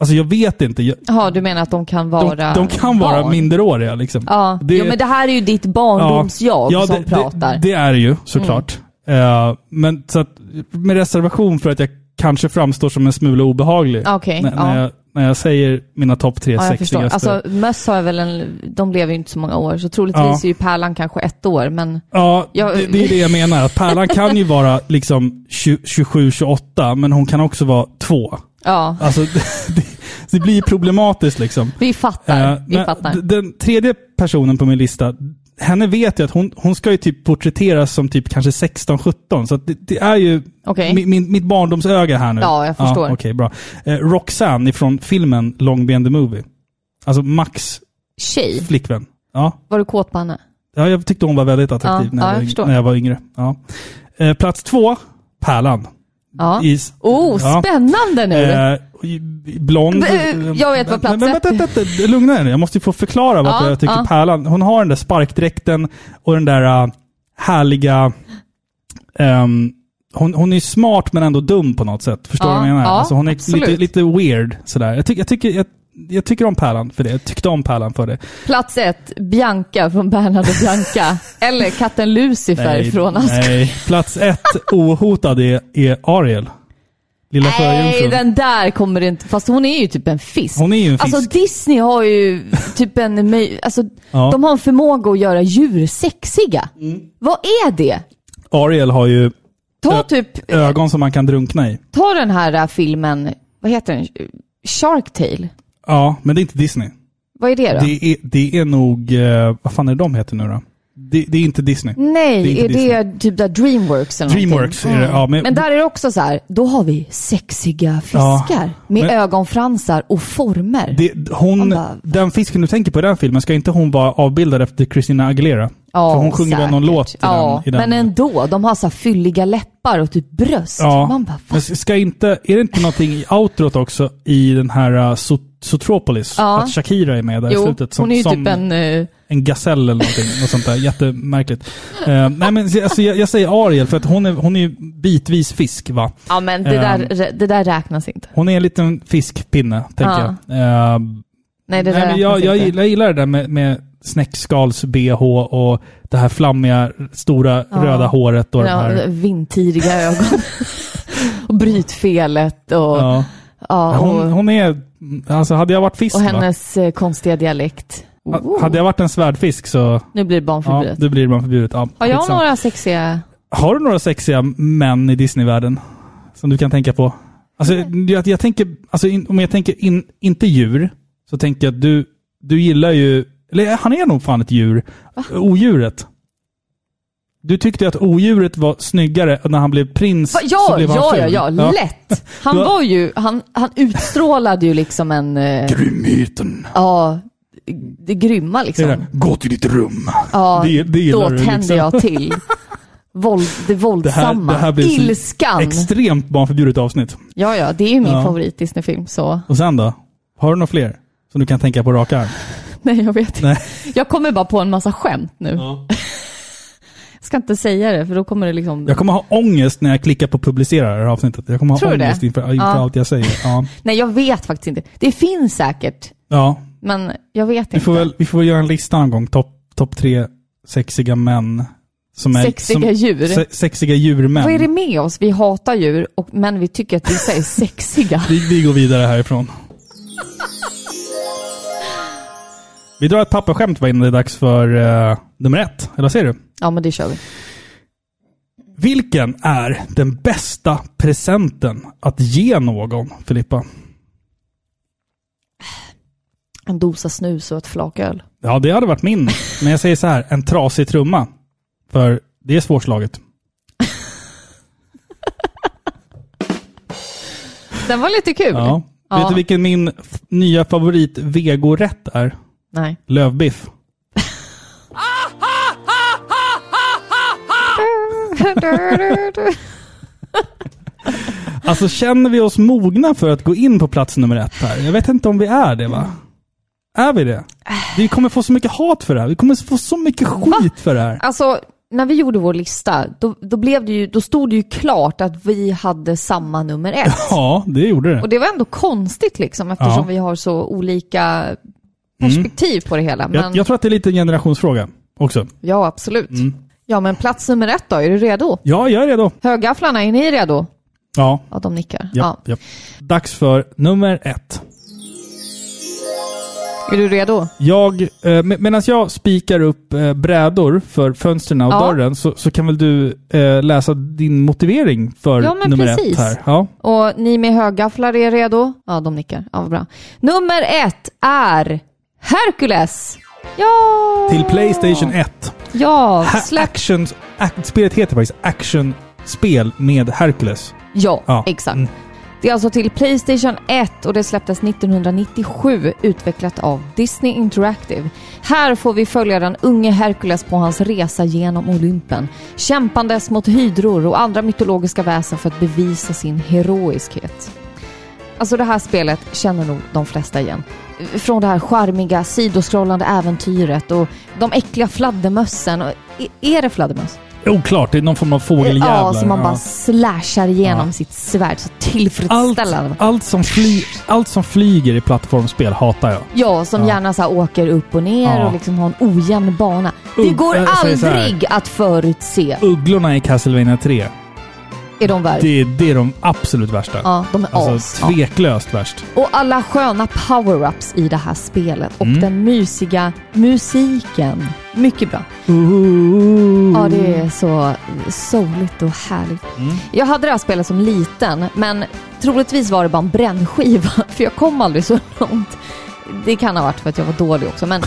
Speaker 1: Alltså jag vet inte. Jag,
Speaker 2: Jaha, du menar att de kan
Speaker 1: de,
Speaker 2: vara
Speaker 1: de kan vara
Speaker 2: barn.
Speaker 1: minderåriga liksom.
Speaker 2: Ja, jo, men det här är ju ditt barndoms-jag som
Speaker 1: det,
Speaker 2: pratar. Mm.
Speaker 1: Det, det är det ju såklart. Eh, men så att, med reservation för att jag kanske framstår som en smula obehaglig
Speaker 2: Okej,
Speaker 1: när, när,
Speaker 2: ja.
Speaker 1: jag, när jag säger mina topp tre
Speaker 2: Ja, jag förstår.
Speaker 1: sexigaste.
Speaker 2: Alltså, möss har väl en... De lever ju inte så många år, så troligtvis
Speaker 1: Ja.
Speaker 2: är ju Pärlan kanske ett år, men...
Speaker 1: ja,
Speaker 2: jag-
Speaker 1: det, det är det jag menar. Att Pärlan kan ju vara liksom 27-28, men hon kan också vara två.
Speaker 2: Ja,
Speaker 1: Alltså, det, det blir problematiskt liksom.
Speaker 2: vi fattar.
Speaker 1: Eh,
Speaker 2: vi
Speaker 1: men
Speaker 2: fattar.
Speaker 1: d- Den tredje personen på min lista, henne vet jag att hon, hon ska ju typ porträtteras som typ kanske 16-17. Så att det, det är ju
Speaker 2: Okej.
Speaker 1: mi- min, mitt barndomsöga här nu.
Speaker 2: Ja, jag förstår.
Speaker 1: Okej, bra. Eh, Roxanne ifrån filmen Long Be in the Movie. Alltså Max
Speaker 2: Tjej,
Speaker 1: flickvän. Ja.
Speaker 2: var du kåt på henne?
Speaker 1: ja, jag tyckte hon var väldigt attraktiv
Speaker 2: Ja,
Speaker 1: när,
Speaker 2: ja, jag
Speaker 1: jag
Speaker 2: förstår.
Speaker 1: var, när jag var yngre. Ja. Eh, plats två, Pärlan.
Speaker 2: Ja.
Speaker 1: Is,
Speaker 2: Oh,
Speaker 1: Ja.
Speaker 2: spännande nu!
Speaker 1: Eh, blond.
Speaker 2: Eh, jag vet vad plats
Speaker 1: Men vänta,
Speaker 2: ett-
Speaker 1: vänta, vänta, lugna er nu. Jag måste ju få förklara varför
Speaker 2: Ja,
Speaker 1: jag tycker
Speaker 2: ja.
Speaker 1: Pärlan... Hon har den där sparkdräkten och den där eh, härliga... ehm, hon, hon är ju smart men ändå dum på något sätt. Förstår du
Speaker 2: Ja,
Speaker 1: vad jag menar?
Speaker 2: ja,
Speaker 1: alltså hon är
Speaker 2: absolut.
Speaker 1: lite, lite weird sådär. Jag, tycker jag, tycker, jag, jag tycker om Pärlan för det. Jag tyckte om Pärlan för det.
Speaker 2: Plats ett, Bianca från Bernhard och Bianca. Eller katten Lucifer från Ask.
Speaker 1: nej. Plats ett ohotad är, är Ariel. Lilla
Speaker 2: Nej,
Speaker 1: sjöjungfrun.
Speaker 2: den där kommer inte... Fast hon är ju typ en fisk.
Speaker 1: Hon är ju en fisk.
Speaker 2: Alltså Disney har ju typ en... möj- Alltså,
Speaker 1: Ja.
Speaker 2: De har en förmåga att göra djur sexiga. Vad är det?
Speaker 1: Ariel har ju
Speaker 2: Ta
Speaker 1: Ö-
Speaker 2: typ...
Speaker 1: ögon som man kan drunkna i.
Speaker 2: Ta den här äh, filmen, vad heter den? Shark Tale?
Speaker 1: Ja, men det är inte Disney.
Speaker 2: Vad är det då?
Speaker 1: Det är, det är nog... eh, Vad fan är de heter nu då? Det, det är inte Disney.
Speaker 2: Nej,
Speaker 1: inte
Speaker 2: är det typ där Dreamworks eller någonting? Mm.
Speaker 1: Dreamworks är det, ja, men-
Speaker 2: men, där är det också så här, då har vi sexiga fiskar
Speaker 1: Ja,
Speaker 2: med
Speaker 1: men-
Speaker 2: ögonfransar och former.
Speaker 1: Det,
Speaker 2: Man
Speaker 1: hon,
Speaker 2: bara, va?
Speaker 1: den fisken du tänker på i den filmen, ska inte hon vara avbildad efter Christina Aguilera?
Speaker 2: Ja,
Speaker 1: För hon sjunger väl någon
Speaker 2: säkert.
Speaker 1: låt i
Speaker 2: ja,
Speaker 1: den. I den.
Speaker 2: men ändå. De har så här fylliga läppar och typ bröst. Man bara,
Speaker 1: men
Speaker 2: va?
Speaker 1: ska inte, är det inte någonting i outrot också i den här uh, Sot- Sotropolis?
Speaker 2: Ja.
Speaker 1: Att Shakira är med där i
Speaker 2: Jo,
Speaker 1: slutet.
Speaker 2: hon är ju
Speaker 1: som
Speaker 2: typ en... eh,
Speaker 1: en gasell eller någonting. Något sånt där. Jättemärkligt. Eh, nej men alltså, jag, jag säger Ariel för att hon är, hon är ju bitvis fisk va?
Speaker 2: ja, men det,
Speaker 1: Ehm.
Speaker 2: där, det där räknas inte.
Speaker 1: Hon är en liten fiskpinne, tänker
Speaker 2: Ja.
Speaker 1: jag. Eh,
Speaker 2: Nej, det
Speaker 1: Nej, men
Speaker 2: där räknas
Speaker 1: jag, jag,
Speaker 2: inte.
Speaker 1: gillar, jag gillar det där med, med snäckskals-bh och det här flammiga, stora, röda håret och den
Speaker 2: ja,
Speaker 1: här...
Speaker 2: vindtidiga ögon. och brytfelet och... Ja.
Speaker 1: Ja.
Speaker 2: och,
Speaker 1: Hon, hon är... Alltså hade jag varit fisk
Speaker 2: och
Speaker 1: va?
Speaker 2: hennes eh, konstiga dialekt.
Speaker 1: Ha-
Speaker 2: Oh.
Speaker 1: Hade jag varit en svärdfisk så...
Speaker 2: Nu blir det
Speaker 1: Ja,
Speaker 2: barnförbjudet.
Speaker 1: då blir man förbjudet. Ja,
Speaker 2: har jag
Speaker 1: skitsamma.
Speaker 2: några sexiga...
Speaker 1: Har du några sexiga män i Disneyvärlden som du kan tänka på? Alltså,
Speaker 2: Mm.
Speaker 1: jag, jag tänker, alltså, in, om jag tänker in, inte djur, så tänker jag att du, du gillar ju... Eller han är nog fan ett djur. Odjuret. Du tyckte att odjuret var snyggare och när han blev prins
Speaker 2: Va, ja,
Speaker 1: så blev han
Speaker 2: ja, ja,
Speaker 1: ful.
Speaker 2: ja, lätt! Han
Speaker 1: Du har-
Speaker 2: var ju, han, han utstrålade ju liksom en, eh,
Speaker 4: Grymheten.
Speaker 2: ja, det grymma
Speaker 1: Det är
Speaker 2: liksom.
Speaker 1: det.
Speaker 4: Gå till ditt rum.
Speaker 2: Ja,
Speaker 1: Det- det gillar
Speaker 2: då
Speaker 1: du,
Speaker 2: tänder
Speaker 1: liksom.
Speaker 2: jag till. Våld,
Speaker 1: Det här,
Speaker 2: det
Speaker 1: det
Speaker 2: våldsamma,
Speaker 1: här blir så
Speaker 2: ilskan.
Speaker 1: extremt barnförbjudet avsnitt.
Speaker 2: Ja, ja, det är ju min
Speaker 1: Ja.
Speaker 2: favorit Disney-film, så
Speaker 1: Och sen då? Har du några fler som du kan tänka på rak arm?
Speaker 2: nej, jag vet
Speaker 1: Nej.
Speaker 2: inte. Jag kommer bara på en massa skämt nu. jag ska inte säga det, för då kommer det liksom...
Speaker 1: Jag kommer ha ångest när jag klickar på publicera det här avsnittet. Jag kommer ha
Speaker 2: Tror du det?
Speaker 1: ångest inför, inför
Speaker 2: Ja.
Speaker 1: allt jag säger. Ja.
Speaker 2: Nej, jag vet faktiskt inte. Det finns säkert,
Speaker 1: Ja,
Speaker 2: men jag vet
Speaker 1: vi
Speaker 2: inte.
Speaker 1: får väl vi får väl göra en lista någon gång. Topp top tre sexiga män. Som är,
Speaker 2: Sexiga
Speaker 1: som,
Speaker 2: djur.
Speaker 1: Se, sexiga djurmän.
Speaker 2: Vad är det med oss? Vi hatar djur, och, men vi tycker att vissa är sexiga.
Speaker 1: Vi, vi går vidare härifrån. Vi drar ett papperskämt va, innan det är dags för eh, nummer ett. Eller vad säger du?
Speaker 2: Ja, men det kör vi.
Speaker 1: Vilken är den bästa presenten att ge någon, Filippa?
Speaker 2: En dosa snus och ett flak öl.
Speaker 1: Ja, det hade varit min. Men jag säger så här, en trasig trumma. För det är svårslaget.
Speaker 2: Den var lite kul.
Speaker 1: Ja. Vet
Speaker 2: Ja.
Speaker 1: du vilken min f- nya favorit vegorätt är?
Speaker 2: Nej.
Speaker 1: Lövbiff. Alltså känner vi oss mogna för att gå in på plats nummer ett här? Jag vet inte om vi är det va? Är vi det? Vi kommer få så mycket hat för det här. Vi kommer få så mycket skit för det här.
Speaker 2: Alltså, när vi gjorde vår lista, då, då, blev det ju, då stod det ju klart att vi hade samma nummer ett.
Speaker 1: Ja, det gjorde det.
Speaker 2: Och det var ändå konstigt liksom, eftersom
Speaker 1: Ja. Mm.
Speaker 2: vi har så olika perspektiv på det hela. Men
Speaker 1: Jag, jag tror att det är lite en generationsfråga också.
Speaker 2: ja, absolut.
Speaker 1: Mm.
Speaker 2: Ja, men plats nummer ett då, är du redo?
Speaker 1: Ja, jag är redo.
Speaker 2: Högafflarna, är ni redo?
Speaker 1: Ja,
Speaker 2: Ja, de nickar.
Speaker 1: japp,
Speaker 2: Ja.
Speaker 1: japp. Dags för nummer ett.
Speaker 2: Är du redo?
Speaker 1: Jag, eh, medan jag spikar upp eh, brädor för fönstren och
Speaker 2: Ja.
Speaker 1: dörren så, så kan väl du eh, läsa din motivering för
Speaker 2: Ja, men
Speaker 1: nummer
Speaker 2: precis.
Speaker 1: ett här. Ja.
Speaker 2: Och ni med högafflar är redo? Ja, de nickar. Ja, vad bra. Nummer ett är Hercules. Ja!
Speaker 1: Till Playstation 1.
Speaker 2: Ja,
Speaker 1: Ha-
Speaker 2: släpp.
Speaker 1: Action, act, spelet heter faktiskt Actionspel med Hercules.
Speaker 2: Ja,
Speaker 1: Ja.
Speaker 2: exakt.
Speaker 1: Mm.
Speaker 2: Det är alltså till Playstation 1 och det släpptes 1997, utvecklat av Disney Interactive. Här får vi följa den unge Hercules på hans resa genom Olympen, kämpandes mot hydror och andra mytologiska väsen för att bevisa sin heroiskhet. Alltså det här spelet känner nog de flesta igen. Från det här charmiga sidoskrollande äventyret och de äckliga fladdermössen. Och- i- Är det fladdermöss?
Speaker 1: Oklart, det är någon form av fågeljävlar.
Speaker 2: Ja, som man bara
Speaker 1: Ja.
Speaker 2: slashar igenom
Speaker 1: Ja.
Speaker 2: sitt svärd så
Speaker 1: allt,
Speaker 2: tillfredsställande.
Speaker 1: allt, som fly, allt som flyger i plattformsspel hatar jag.
Speaker 2: Ja, som
Speaker 1: Ja.
Speaker 2: gärna så här åker upp och ner
Speaker 1: Ja.
Speaker 2: och liksom har en ojämn bana.
Speaker 1: Ugg-
Speaker 2: Det går
Speaker 1: jag säger så här.
Speaker 2: aldrig att förutse.
Speaker 1: Ugglorna i Castlevania 3,
Speaker 2: Är de värre?
Speaker 1: det, är- det är de absolut värsta.
Speaker 2: Ja, de är as.
Speaker 1: Alltså
Speaker 2: Ja.
Speaker 1: tveklöst värst.
Speaker 2: Och alla sköna power-ups i det här spelet och
Speaker 1: Mm.
Speaker 2: den mysiga musiken. Mycket bra.
Speaker 1: Mm.
Speaker 2: Ja, det är så soligt och härligt. Jag hade det här spelet som liten, men troligtvis var det bara en brännskiva, för jag kom aldrig så långt. det kan ha varit för att jag var dålig också, men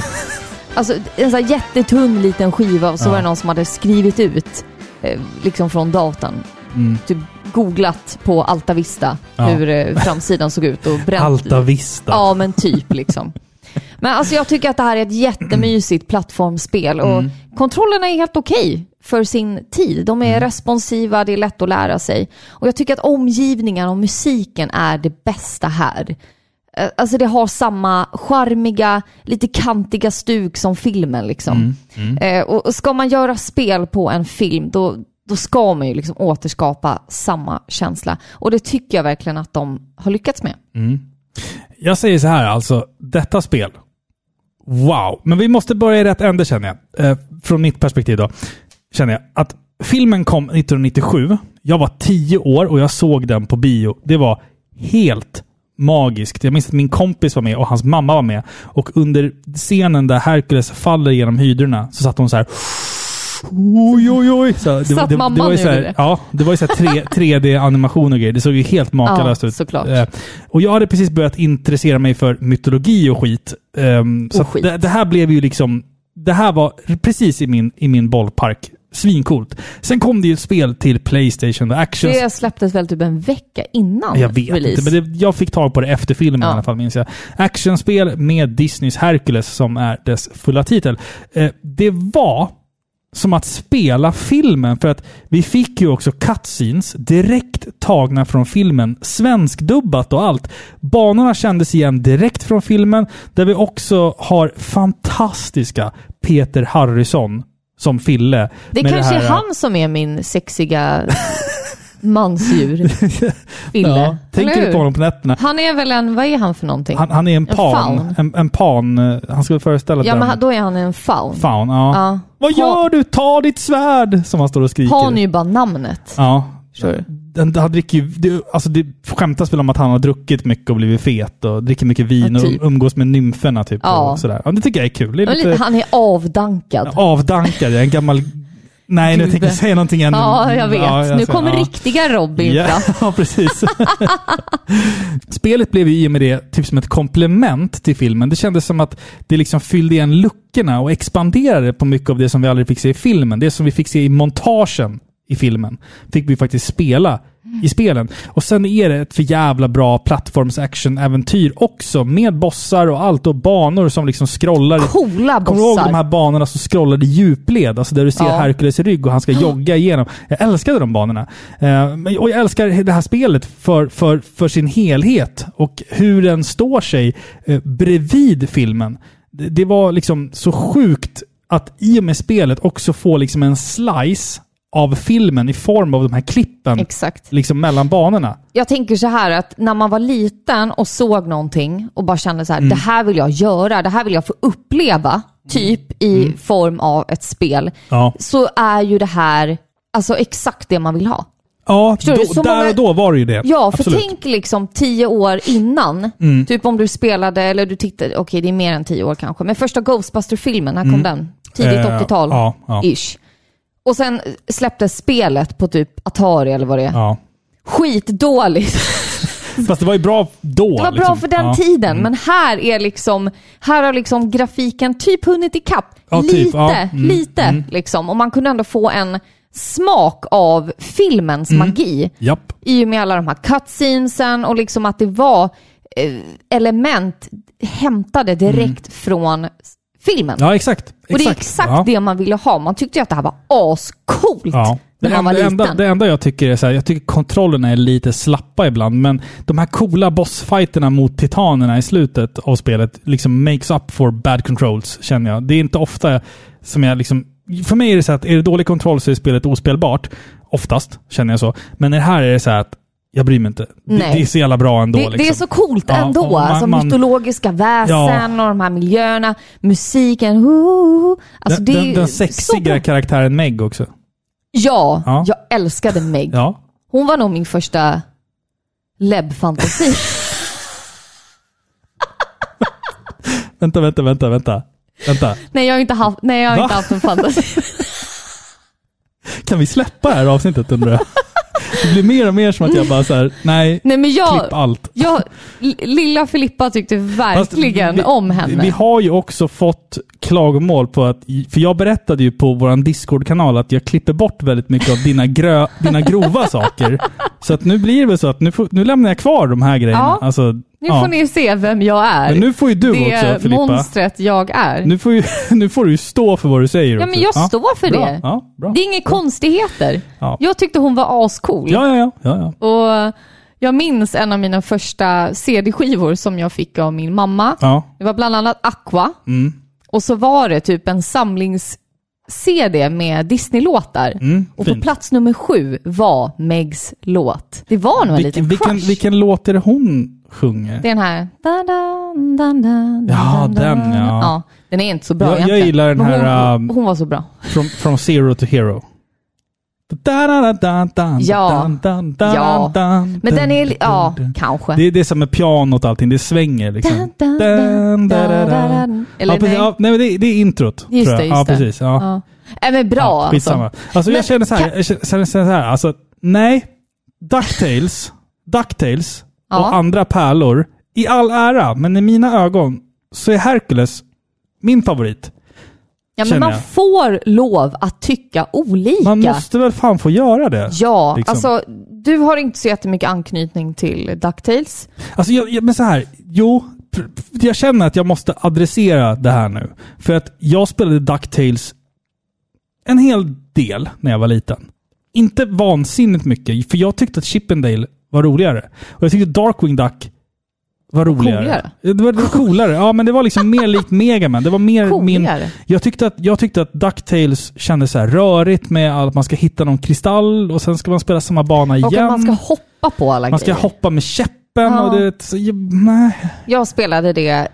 Speaker 2: alltså en sån här jättetunn liten skiva och så
Speaker 1: Ja.
Speaker 2: var det någon som hade skrivit ut eh, liksom från datan.
Speaker 1: Mm.
Speaker 2: Typ googlat på Alta Vista
Speaker 1: Ja.
Speaker 2: hur eh, framsidan såg ut och bränt.
Speaker 1: Alta Vista.
Speaker 2: Ja, men typ liksom. Men alltså jag tycker att det här är ett jättemysigt plattformsspel och kontrollerna är helt okej för sin tid. De är responsiva, det är lätt att lära sig. Och jag tycker att omgivningen och musiken är det bästa här. Eh, Alltså det har samma charmiga, lite kantiga stuk som filmen liksom. Eh, och och ska man göra spel på en film då, då ska man ju liksom återskapa samma känsla. Och det tycker jag verkligen att de har lyckats med.
Speaker 1: Jag säger så här alltså, detta spel. Wow! Men vi måste börja i rätt ände känner jag. Eh, från mitt perspektiv då. Känner jag att filmen kom 1997. Jag var 10 år och jag såg den på bio. Det var helt magiskt. Jag minns att min kompis var med och hans mamma var med. Och under scenen där Hercules faller genom hydrorna så satt hon så här. Oj, oj, oj. Så, det,
Speaker 2: Satt mamman
Speaker 1: var ju
Speaker 2: och
Speaker 1: så här,
Speaker 2: gjorde det?
Speaker 1: Ja, det var ju så här 3, d animation och grejer. Det såg ju helt makalöst
Speaker 2: Ja,
Speaker 1: ut.
Speaker 2: såklart.
Speaker 1: Eh, och jag hade precis börjat intressera mig för mytologi och skit. Ehm, så
Speaker 2: Och
Speaker 1: att
Speaker 2: skit.
Speaker 1: Det, det här blev ju liksom... Det här var precis i min, i min bollpark. Svincoolt. Sen kom det ju ett spel till Playstation och Action.
Speaker 2: Det släpptes väl typ en vecka innan
Speaker 1: Jag vet
Speaker 2: release?
Speaker 1: inte, men det, jag fick tag på det efter filmen i
Speaker 2: Ja.
Speaker 1: alla fall minns jag. Actionspel med Disneys Hercules som är dess fulla titel. Eh, det var som att spela filmen för att vi fick ju också cutscenes direkt tagna från filmen. Svenskdubbat och allt. Banorna kändes igen direkt från filmen där vi också har fantastiska Peter Harrison som Fille.
Speaker 2: Det
Speaker 1: med
Speaker 2: kanske
Speaker 1: här-
Speaker 2: är han som är min sexiga mansdjur. Fille.
Speaker 1: Ja, tänker
Speaker 2: Eller
Speaker 1: du på
Speaker 2: hur?
Speaker 1: honom på nätterna?
Speaker 2: Han är väl en, vad är han för någonting?
Speaker 1: Han, han är en
Speaker 2: En
Speaker 1: pan.
Speaker 2: faun.
Speaker 1: En, en pan. eh, Han skulle föreställa
Speaker 2: ja,
Speaker 1: den.
Speaker 2: men han- då är han en faun.
Speaker 1: Faun, ja.
Speaker 2: Ja.
Speaker 1: Vad
Speaker 2: Ha-
Speaker 1: gör du? Ta ditt svärd! Som han står och skriker.
Speaker 2: Har ni ju bara namnet.
Speaker 1: Ja.
Speaker 2: Sure.
Speaker 1: Den, han dricker ju, det, alltså det skämtas väl om att han har druckit mycket och blivit fet och dricker mycket vin
Speaker 2: Ja, typ.
Speaker 1: och umgås med nymferna typ.
Speaker 2: Ja.
Speaker 1: Och sådär. Ja, det tycker jag är kul. Det är
Speaker 2: Men
Speaker 1: lite
Speaker 2: Han är avdankad.
Speaker 1: avdankad. Jag är en gammal... Nej, nu
Speaker 2: Gubbe.
Speaker 1: tänker jag säga någonting ännu.
Speaker 2: Ja, jag vet.
Speaker 1: Ja, jag
Speaker 2: nu
Speaker 1: ser-
Speaker 2: kommer
Speaker 1: ja.
Speaker 2: riktiga Robin fram.
Speaker 1: Ja, precis. Spelet blev ju i och med det typ som ett komplement till filmen. Det kändes som att det liksom fyllde igen luckorna och expanderade på mycket av det som vi aldrig fick se i filmen. Det som vi fick se i montagen i filmen fick vi faktiskt spela i spelen. Och sen är det ett för jävla bra plattforms-action-äventyr också med bossar och allt och banor som liksom scrollar. i-
Speaker 2: Coola
Speaker 1: Kommer du ihåg de här
Speaker 2: bossar.
Speaker 1: banorna som scrollade i djupled? Alltså där du ser
Speaker 2: Ja.
Speaker 1: Hercules rygg och han ska jogga igenom. Jag älskade de banorna. Eh, men- och jag älskar det här spelet för, för, för sin helhet och hur den står sig eh, bredvid filmen. Det, det var liksom så sjukt att i och med spelet också få liksom en slice av filmen i form av de här klippen
Speaker 2: Exakt.
Speaker 1: liksom mellan banorna.
Speaker 2: Jag tänker så här att när man var liten och såg någonting och bara kände så här,
Speaker 1: Mm.
Speaker 2: det här vill jag göra, det här vill jag få uppleva, typ i form av ett spel,
Speaker 1: Mm. Ja,
Speaker 2: så är ju det här alltså exakt det man vill ha.
Speaker 1: ja
Speaker 2: Förstår du?
Speaker 1: då,
Speaker 2: Så
Speaker 1: där
Speaker 2: många-
Speaker 1: och då var det ju det.
Speaker 2: Ja, för
Speaker 1: Absolut. Mm.
Speaker 2: tänk liksom tio år innan. Typ om du spelade, eller du tittade, okej det är mer än tio år kanske, men första Ghostbuster-filmen, när kom den? Tidigt
Speaker 1: Mm. Eh,
Speaker 2: 80-tal,
Speaker 1: ja, ja.
Speaker 2: ish. Och sen släpptes spelet på typ Atari eller vad det är.
Speaker 1: Ja.
Speaker 2: Skitdåligt.
Speaker 1: Fast det var ju bra då.
Speaker 2: Det var bra
Speaker 1: liksom.
Speaker 2: för den
Speaker 1: Ja.
Speaker 2: tiden, men här är liksom, här har liksom grafiken typ hunnit ikapp.
Speaker 1: Ja,
Speaker 2: lite,
Speaker 1: typ. Ja. Mm,
Speaker 2: lite liksom. Och man kunde ändå få en smak av filmens
Speaker 1: Mm.
Speaker 2: magi.
Speaker 1: Japp.
Speaker 2: I och med alla de här cutscenesen och liksom att det var eh, element hämtade direkt från s- filmen.
Speaker 1: Mm. Ja, exakt.
Speaker 2: och det är exakt
Speaker 1: ja.
Speaker 2: det man ville ha. Man tyckte ju att det här var ascoolt
Speaker 1: Ja. Det,
Speaker 2: när man var
Speaker 1: enda, det,
Speaker 2: liten.
Speaker 1: enda, det enda jag tycker är så här, jag tycker kontrollerna är lite slappa ibland, men de här coola bossfighterna mot titanerna i slutet av spelet liksom makes up for bad controls, känner jag. Det är inte ofta som jag liksom... För mig är det så här att är det dålig kontroll så är spelet ospelbart. Oftast, känner jag så. Men i det här är det så här att jag bryr mig inte. Det,
Speaker 2: Nej.
Speaker 1: det är så jävla bra ändå.
Speaker 2: Det, det är
Speaker 1: liksom.
Speaker 2: så coolt
Speaker 1: Ja,
Speaker 2: ändå.
Speaker 1: och man-
Speaker 2: alltså,
Speaker 1: man-
Speaker 2: mytologiska väsen
Speaker 1: Ja.
Speaker 2: och de här miljöerna, musiken. hu, hu, hu. Alltså,
Speaker 1: Den,
Speaker 2: det är
Speaker 1: den, den
Speaker 2: så bra.
Speaker 1: sexiga karaktären Meg också.
Speaker 2: Ja,
Speaker 1: Ja.
Speaker 2: jag älskade Meg.
Speaker 1: Ja.
Speaker 2: Hon var nog min första leb-fantasi.
Speaker 1: Vänta, vänta, vänta, vänta. Vänta.
Speaker 2: nej, jag har inte haft, nej, jag har
Speaker 1: Va?
Speaker 2: inte haft en fantasi.
Speaker 1: Kan vi släppa det här avsnittet undrar jag? Det blir mer och mer som att jag bara så här, nej,
Speaker 2: Nej men jag,
Speaker 1: klipp allt.
Speaker 2: jag, L- lilla Filippa tyckte
Speaker 1: Fast
Speaker 2: verkligen
Speaker 1: vi-
Speaker 2: om henne.
Speaker 1: Vi har ju också fått klagomål på att, för jag berättade ju på vår Discord-kanal att jag klipper bort väldigt mycket av dina, grö, dina grova saker. Så att nu blir det väl så att nu, får, nu lämnar jag kvar de här grejerna.
Speaker 2: Ja.
Speaker 1: Alltså,
Speaker 2: nu får ni se vem jag är.
Speaker 1: Men nu får ju du
Speaker 2: det
Speaker 1: också Filippa.
Speaker 2: monstret jag är.
Speaker 1: Nu får, ju, nu får du ju stå för vad du säger
Speaker 2: ja
Speaker 1: också.
Speaker 2: men jag står för
Speaker 1: bra.
Speaker 2: det.
Speaker 1: Ja, bra.
Speaker 2: Det är inga konstigheter.
Speaker 1: Ja.
Speaker 2: Jag tyckte hon var ascool.
Speaker 1: Ja, ja, ja. ja, ja.
Speaker 2: Och jag minns en av mina första CD-skivor som jag fick av min mamma.
Speaker 1: ja. Mm.
Speaker 2: Det var bland annat Aqua. Och så var det typ en samlings-CD med Disney-låtar. och på
Speaker 1: Mm, fint.
Speaker 2: plats nummer sju var Megs låt. Det var nog en
Speaker 1: Vilken,
Speaker 2: liten
Speaker 1: vilken,
Speaker 2: crush.
Speaker 1: vilken låt är det hon sjunger?
Speaker 2: Det är den här... Dun, dun, dun, dun,
Speaker 1: Ja,
Speaker 2: dun, dun.
Speaker 1: den, ja.
Speaker 2: Den är inte så bra
Speaker 1: Jag- jag
Speaker 2: egentligen.
Speaker 1: gillar den
Speaker 2: Men
Speaker 1: här,
Speaker 2: Hon,
Speaker 1: um,
Speaker 2: hon var så bra.
Speaker 1: From, from zero to hero.
Speaker 2: Ja. Ja. Men den är... li- Ja, kanske.
Speaker 1: Det är det som är pianot och allting, det svänger liksom.
Speaker 2: Dun, dun, dun,
Speaker 1: Dun, da, da, da.
Speaker 2: dun. Eller
Speaker 1: Ja, precis.
Speaker 2: nej.
Speaker 1: Ja, nej, men det, det är introt.
Speaker 2: Just
Speaker 1: tror jag.
Speaker 2: det, just
Speaker 1: ja,
Speaker 2: det.
Speaker 1: precis. Ja.
Speaker 2: Ja. Äh, men bra
Speaker 1: Ja, skitsamma.
Speaker 2: alltså.
Speaker 1: Alltså,
Speaker 2: Men
Speaker 1: jag känner så här,
Speaker 2: kan-
Speaker 1: jag känner, känner så här alltså, nej. Ducktails, Ducktails
Speaker 2: Ja.
Speaker 1: och andra pärlor i all ära, men i mina ögon så är Hercules min favorit.
Speaker 2: Ja, men
Speaker 1: känner
Speaker 2: man
Speaker 1: jag.
Speaker 2: får lov att tycka olika.
Speaker 1: Man måste väl fan få göra det?
Speaker 2: Ja,
Speaker 1: liksom.
Speaker 2: alltså du har inte så jättemycket anknytning till DuckTales.
Speaker 1: Alltså, jag, jag, men så här, jo, pr- pr- jag känner att jag måste adressera det här nu. För att jag spelade DuckTales en hel del när jag var liten. Inte vansinnigt mycket, för jag tyckte att Chippendale var roligare. Och jag tyckte Darkwing Duck var roligare.
Speaker 2: Coolare.
Speaker 1: Ja, Det var, det var coolare. Ja, men det var liksom mer likt Megaman. Det var mer min...
Speaker 2: Coolare.
Speaker 1: Jag tyckte, att, jag tyckte att DuckTales kändes så här rörigt med att man ska hitta någon kristall och sen ska man spela samma bana igen.
Speaker 2: Och att man ska hoppa på alla
Speaker 1: Man ska
Speaker 2: grejer.
Speaker 1: hoppa med käppen
Speaker 2: Ja.
Speaker 1: och det... Så, jag- nej.
Speaker 2: Jag spelade det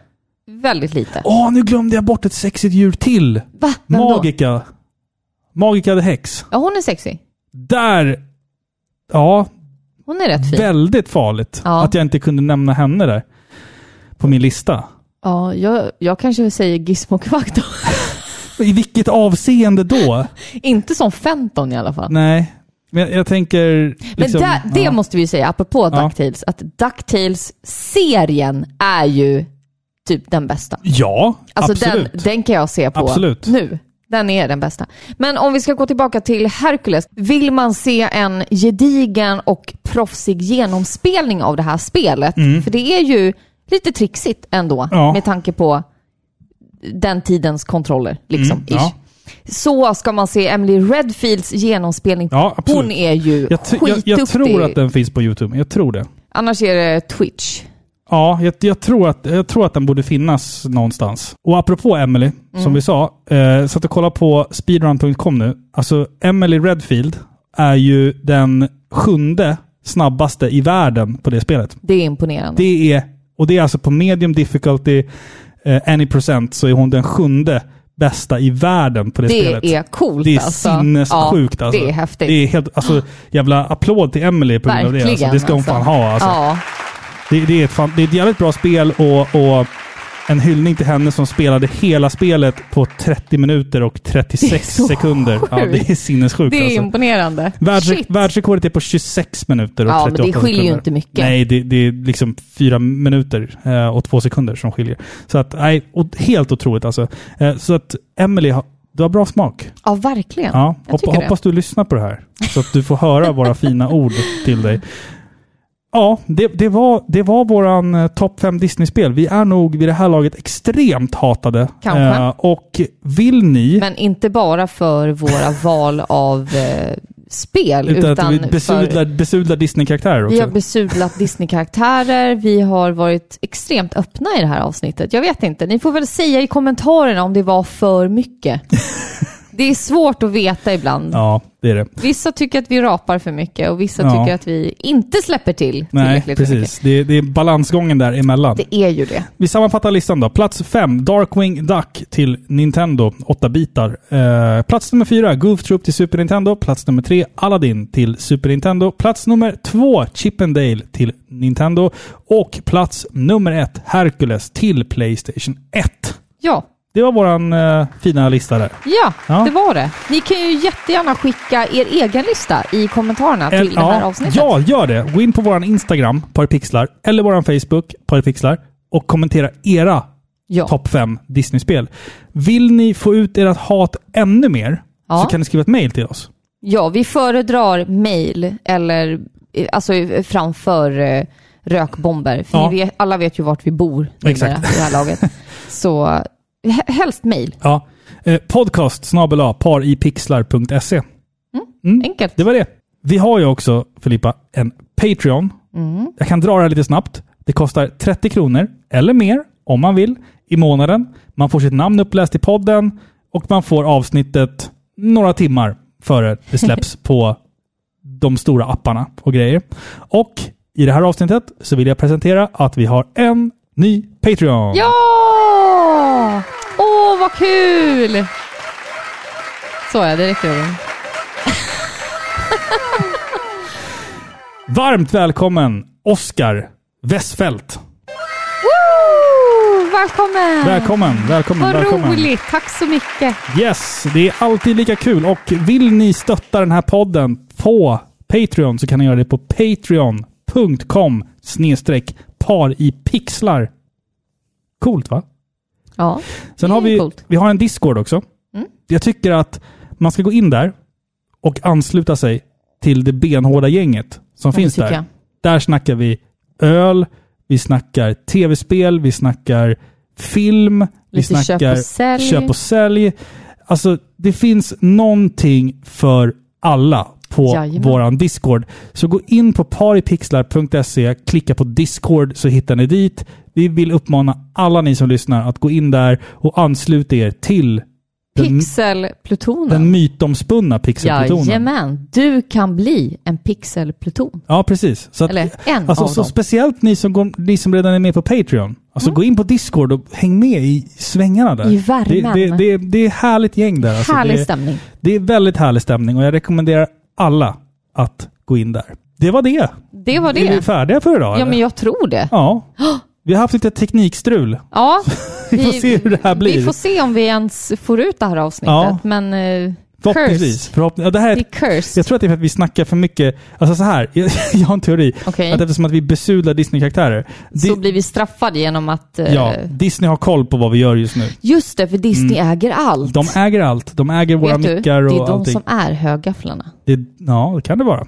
Speaker 2: väldigt lite.
Speaker 1: Åh, nu glömde jag bort ett sexigt djur till!
Speaker 2: Va? Vem då?
Speaker 1: Magika. Magika the Hex.
Speaker 2: Ja, hon är sexig.
Speaker 1: Där... Ja,
Speaker 2: Hon är rätt fin.
Speaker 1: väldigt farligt
Speaker 2: Typ. Ja.
Speaker 1: att jag inte kunde nämna henne där. På min lista.
Speaker 2: Ja, jag, jag kanske säger Gizmo Kvack då.
Speaker 1: I vilket avseende då?
Speaker 2: inte som Fenton i alla fall.
Speaker 1: Nej, men jag, jag tänker...
Speaker 2: Men
Speaker 1: Liksom,
Speaker 2: där, det
Speaker 1: ja.
Speaker 2: måste vi ju säga, apropå
Speaker 1: Ja.
Speaker 2: DuckTales, att DuckTales-serien är ju typ den bästa.
Speaker 1: Ja,
Speaker 2: Alltså den,
Speaker 1: absolut.
Speaker 2: den kan jag se på
Speaker 1: Absolut.
Speaker 2: nu. Den är den bästa. Men om vi ska gå tillbaka till Hercules. Vill man se en gedigen och proffsig genomspelning av det här spelet, för det är ju lite trixigt ändå
Speaker 1: Mm. Ja.
Speaker 2: med tanke på den tidens kontroller. Liksom,
Speaker 1: Mm, ja.
Speaker 2: ish. Så ska man se Emily Redfields genomspelning.
Speaker 1: Ja, absolut.
Speaker 2: Hon är ju
Speaker 1: jag, tr- jag, jag
Speaker 2: skitduktig.
Speaker 1: tror att den finns på YouTube. Jag tror det.
Speaker 2: Annars är det Twitch.
Speaker 1: Ja, jag, jag, tror att, jag tror att den borde finnas någonstans. Och apropå Emily,
Speaker 2: Mm.
Speaker 1: som vi sa, eh, satt och kollade på speedrun.com nu. Alltså, Emily Redfield är ju den sjunde snabbaste i världen på det spelet.
Speaker 2: Det är imponerande.
Speaker 1: Det är, och det är alltså på medium difficulty, eh, any percent, så är hon den sjunde bästa i världen på det,
Speaker 2: Det
Speaker 1: spelet.
Speaker 2: är coolt
Speaker 1: Det är
Speaker 2: alltså.
Speaker 1: sinnessjukt
Speaker 2: ja,
Speaker 1: alltså.
Speaker 2: Det är häftigt. Ah.
Speaker 1: Det är helt, alltså, jävla applåd till Emily på grund av det.
Speaker 2: Verkligen.
Speaker 1: Alltså. Det ska hon fan
Speaker 2: alltså.
Speaker 1: ha alltså.
Speaker 2: Ja.
Speaker 1: Det, det, är ett fan, det är ett jävligt bra spel och, och en hyllning till henne som spelade hela spelet på 30 minuter och 36
Speaker 2: Det är så
Speaker 1: sekunder. Ja, det är sinnessjukt
Speaker 2: Det är
Speaker 1: alltså.
Speaker 2: imponerande.
Speaker 1: Världsre-
Speaker 2: Shit.
Speaker 1: världsrekordet är på 26 minuter och
Speaker 2: Ja, men det
Speaker 1: 38 sekunder.
Speaker 2: skiljer ju inte mycket.
Speaker 1: Nej, det, det är liksom fyra minuter eh, och två sekunder som skiljer. Så att, nej, och helt otroligt alltså. Eh, så att Emily, ha- du har bra smak.
Speaker 2: Ja, verkligen.
Speaker 1: Ja,
Speaker 2: jag
Speaker 1: hop-
Speaker 2: tycker
Speaker 1: hoppas du lyssnar på det här. Så att du får höra våra fina ord till dig. Ja, det, det var, det var våran eh, topp 5 Disney-spel. Vi är nog vid det här laget extremt hatade. Eh,
Speaker 2: Kanske.
Speaker 1: och vill ni...
Speaker 2: det. Men inte bara för våra val av eh, spel, utan,
Speaker 1: utan att vi besudlar,
Speaker 2: för...
Speaker 1: besudlar Disney-karaktärer också.
Speaker 2: Vi har besudlat Disney-karaktärer, vi har varit extremt öppna i det här avsnittet. Jag vet inte, ni får väl säga i kommentarerna om det var för mycket. det är svårt att veta ibland.
Speaker 1: Ja, det är det.
Speaker 2: Vissa tycker att vi rapar för mycket och vissa
Speaker 1: Ja.
Speaker 2: tycker att vi inte släpper till
Speaker 1: Nej,
Speaker 2: tillräckligt för mycket.
Speaker 1: precis. Det, är- det är balansgången där emellan.
Speaker 2: Det är ju det.
Speaker 1: Vi sammanfattar listan då. Plats 5, Darkwing Duck till Nintendo, 8 bitar. Eh, plats nummer 4, Goof Troop till Super Nintendo. Plats nummer 3, Aladdin till Super Nintendo. Plats nummer 2, Chippendale till Nintendo. Och plats nummer 1, Hercules till Playstation 1.
Speaker 2: Ja,
Speaker 1: Det var våran eh, fina lista där.
Speaker 2: Ja,
Speaker 1: Ja.
Speaker 2: det var det. Ni kan ju jättegärna skicka er egen lista i kommentarerna till det här
Speaker 1: Eh, ja,
Speaker 2: avsnittet.
Speaker 1: ja, gör det. Gå in på våran Instagram, Parapixlar, eller våran Facebook, Parapixlar, och kommentera era
Speaker 2: Ja.
Speaker 1: topp fem Disney-spel. Vill ni få ut ert hat ännu mer
Speaker 2: Ja.
Speaker 1: så kan ni skriva ett mejl till oss.
Speaker 2: Ja, vi föredrar mail eller eh, alltså eh, framför eh, rökbomber. För
Speaker 1: Ja.
Speaker 2: ni vet, alla vet ju vart vi bor numera i
Speaker 1: Exakt.
Speaker 2: det här laget. Så eh, he- helst mail.
Speaker 1: Ja. Eh, podcast snabel a, paripixlar.se.
Speaker 2: Enkelt.
Speaker 1: Mm. Det var det. Vi har ju också, Filippa, en Patreon.
Speaker 2: Mm.
Speaker 1: Jag kan dra det här lite snabbt. Det kostar 30 kronor, eller mer om man vill, i månaden. Man får sitt namn uppläst i podden och man får avsnittet några timmar före det släpps på de stora apparna och grejer. Och i det här avsnittet så vill jag presentera att vi har en ny Patreon.
Speaker 2: Ja! Åh, vad kul! Så ja, det räcker. väl.
Speaker 1: Varmt välkommen Oskar Westfeldt.
Speaker 2: Woo! Välkommen!
Speaker 1: Välkommen, välkommen,
Speaker 2: Vad
Speaker 1: välkommen.
Speaker 2: roligt! Tack så mycket.
Speaker 1: Yes, det är alltid lika kul. Och vill ni stötta den här podden på Patreon så kan ni göra det på patreon.com snedstreck par i pixlar. Coolt va?
Speaker 2: Ja,
Speaker 1: Sen
Speaker 2: Det
Speaker 1: har
Speaker 2: är
Speaker 1: vi,
Speaker 2: coolt. Mm.
Speaker 1: vi har en Discord också. Jag tycker att man ska gå in där och ansluta sig till det benhårda gänget som
Speaker 2: det
Speaker 1: finns
Speaker 2: tycker
Speaker 1: där.
Speaker 2: jag.
Speaker 1: Där snackar vi öl, vi snackar tv-spel, vi snackar film, vi
Speaker 2: Lite köp
Speaker 1: snackar
Speaker 2: och sälj.
Speaker 1: köp och sälj. Alltså, det finns någonting för alla på
Speaker 2: Jajamän.
Speaker 1: våran Discord. Så gå in på paripixlar.se, klicka på Discord så hittar ni dit. Vi vill uppmana alla ni som lyssnar att gå in där och ansluta er till den, den
Speaker 2: Pixelplutonen.
Speaker 1: mytomspunna pixelplutonen.
Speaker 2: Jajamän, du kan bli en pixelpluton.
Speaker 1: Ja, precis. Så att,
Speaker 2: Eller en
Speaker 1: alltså,
Speaker 2: av
Speaker 1: så
Speaker 2: dem. Mm.
Speaker 1: Speciellt ni som, går, ni som redan är med på Patreon. Alltså gå in på Discord och häng med i svängarna där.
Speaker 2: I värmen.
Speaker 1: Det, det, det, det är härligt gäng där. Alltså,
Speaker 2: Härlig
Speaker 1: det,
Speaker 2: stämning.
Speaker 1: Det är väldigt härlig stämning och jag rekommenderar alla att gå in där. Det var det.
Speaker 2: Det var
Speaker 1: Är vi
Speaker 2: det.
Speaker 1: färdiga för idag?
Speaker 2: Ja,
Speaker 1: eller?
Speaker 2: men jag tror det.
Speaker 1: ja. Vi har haft lite teknikstrul.
Speaker 2: Ja,
Speaker 1: Vi får se hur det här blir.
Speaker 2: Vi får se om vi ens får ut det här avsnittet.
Speaker 1: Ja.
Speaker 2: Men eh,
Speaker 1: Förhoppningsvis.
Speaker 2: curse.
Speaker 1: Förhoppning- ja, det här är
Speaker 2: Det är curse.
Speaker 1: Jag tror att det är för att vi snackar för mycket. Alltså så här, jag, jag har en teori.
Speaker 2: Okej.
Speaker 1: Att eftersom att vi besudlar Disney-karaktärer.
Speaker 2: Så
Speaker 1: Di-
Speaker 2: blir vi straffade genom att... eh,
Speaker 1: ja, Disney har koll på vad vi gör just nu.
Speaker 2: Just det, för Disney äger allt.
Speaker 1: De äger allt. De äger våra
Speaker 2: Vet du, det
Speaker 1: mickar och
Speaker 2: är de
Speaker 1: allting.
Speaker 2: som Mm. är högafflarna.
Speaker 1: Det, ja, det kan det vara.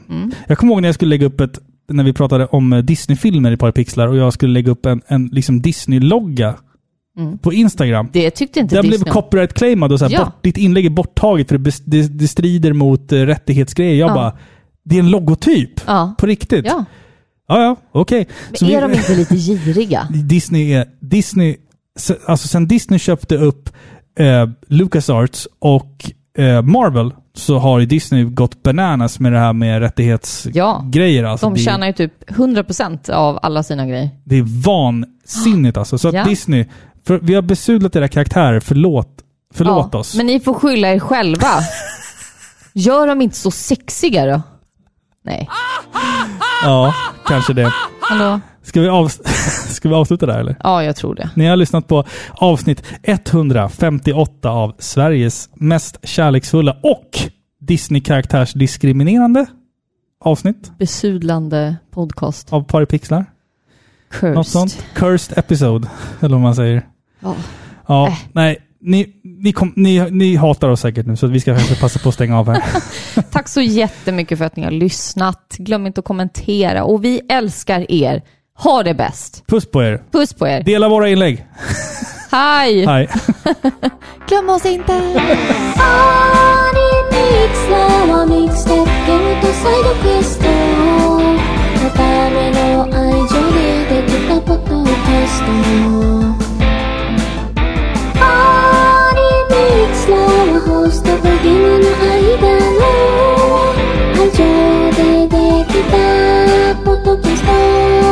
Speaker 1: Jag kommer ihåg när jag skulle lägga upp ett när vi pratade om eh, Disney-filmer i Parapixlar och jag skulle lägga upp en, en liksom Disney-logga på Instagram.
Speaker 2: Mm. Det tyckte inte
Speaker 1: Den blev
Speaker 2: Disney om.
Speaker 1: copyright-claimad och så här,
Speaker 2: Ja.
Speaker 1: bort, ditt inlägg är borttaget för det, bes- det, det strider mot eh, rättighetsgrejer. Jag
Speaker 2: Ja.
Speaker 1: bara, det är en logotyp.
Speaker 2: Ja.
Speaker 1: På riktigt.
Speaker 2: Ja.
Speaker 1: Ja, ja, okej. Så
Speaker 2: Men är
Speaker 1: vi-
Speaker 2: de inte lite giriga?
Speaker 1: Disney är... Disney, se- alltså sen Disney köpte upp eh, LucasArts och eh, Marvel så har ju Disney gått bananas med det här med
Speaker 2: Ja.
Speaker 1: rättighetsgrejer. alltså,
Speaker 2: De
Speaker 1: det,
Speaker 2: tjänar ju typ 100% av alla sina grejer.
Speaker 1: det är vansinnigt alltså. Så att
Speaker 2: Ja.
Speaker 1: Disney, för vi har besudlat era karaktärer, förlåt, förlåt oss.
Speaker 2: Men ni får skylla er själva. Gör dem inte så sexiga då. Nej.
Speaker 1: Ja, kanske det.
Speaker 2: Hallå?
Speaker 1: Ska vi, av, ska vi avsluta där eller?
Speaker 2: Ja, jag tror det.
Speaker 1: Ni har lyssnat på avsnitt 158 av Sveriges mest kärleksfulla och Disney-karaktärsdiskriminerande avsnitt
Speaker 2: Besudlande podcast.
Speaker 1: av Paripixlar. Något
Speaker 2: Cursed.
Speaker 1: sånt. Cursed episode, eller vad man säger.
Speaker 2: Ja.
Speaker 1: Ja,
Speaker 2: Äh.
Speaker 1: nej. Ni, ni, kom, ni, ni hatar oss säkert nu, så vi ska kanske passa på att stänga av här.
Speaker 2: Tack så jättemycket för att ni har lyssnat. Glöm inte att kommentera och vi älskar er. Ha det bäst.
Speaker 1: Puss på er.
Speaker 2: Puss på er.
Speaker 1: Dela våra inlägg.
Speaker 2: Hej!
Speaker 1: Hej.
Speaker 2: Glöm oss inte.
Speaker 5: Pixlar har mixtecken utav sidoquester Med Barmen och Ijo leder titta på podcasten Ari Mixlar har hosta på Gimon och Aidano Ijo leder titta på podcasten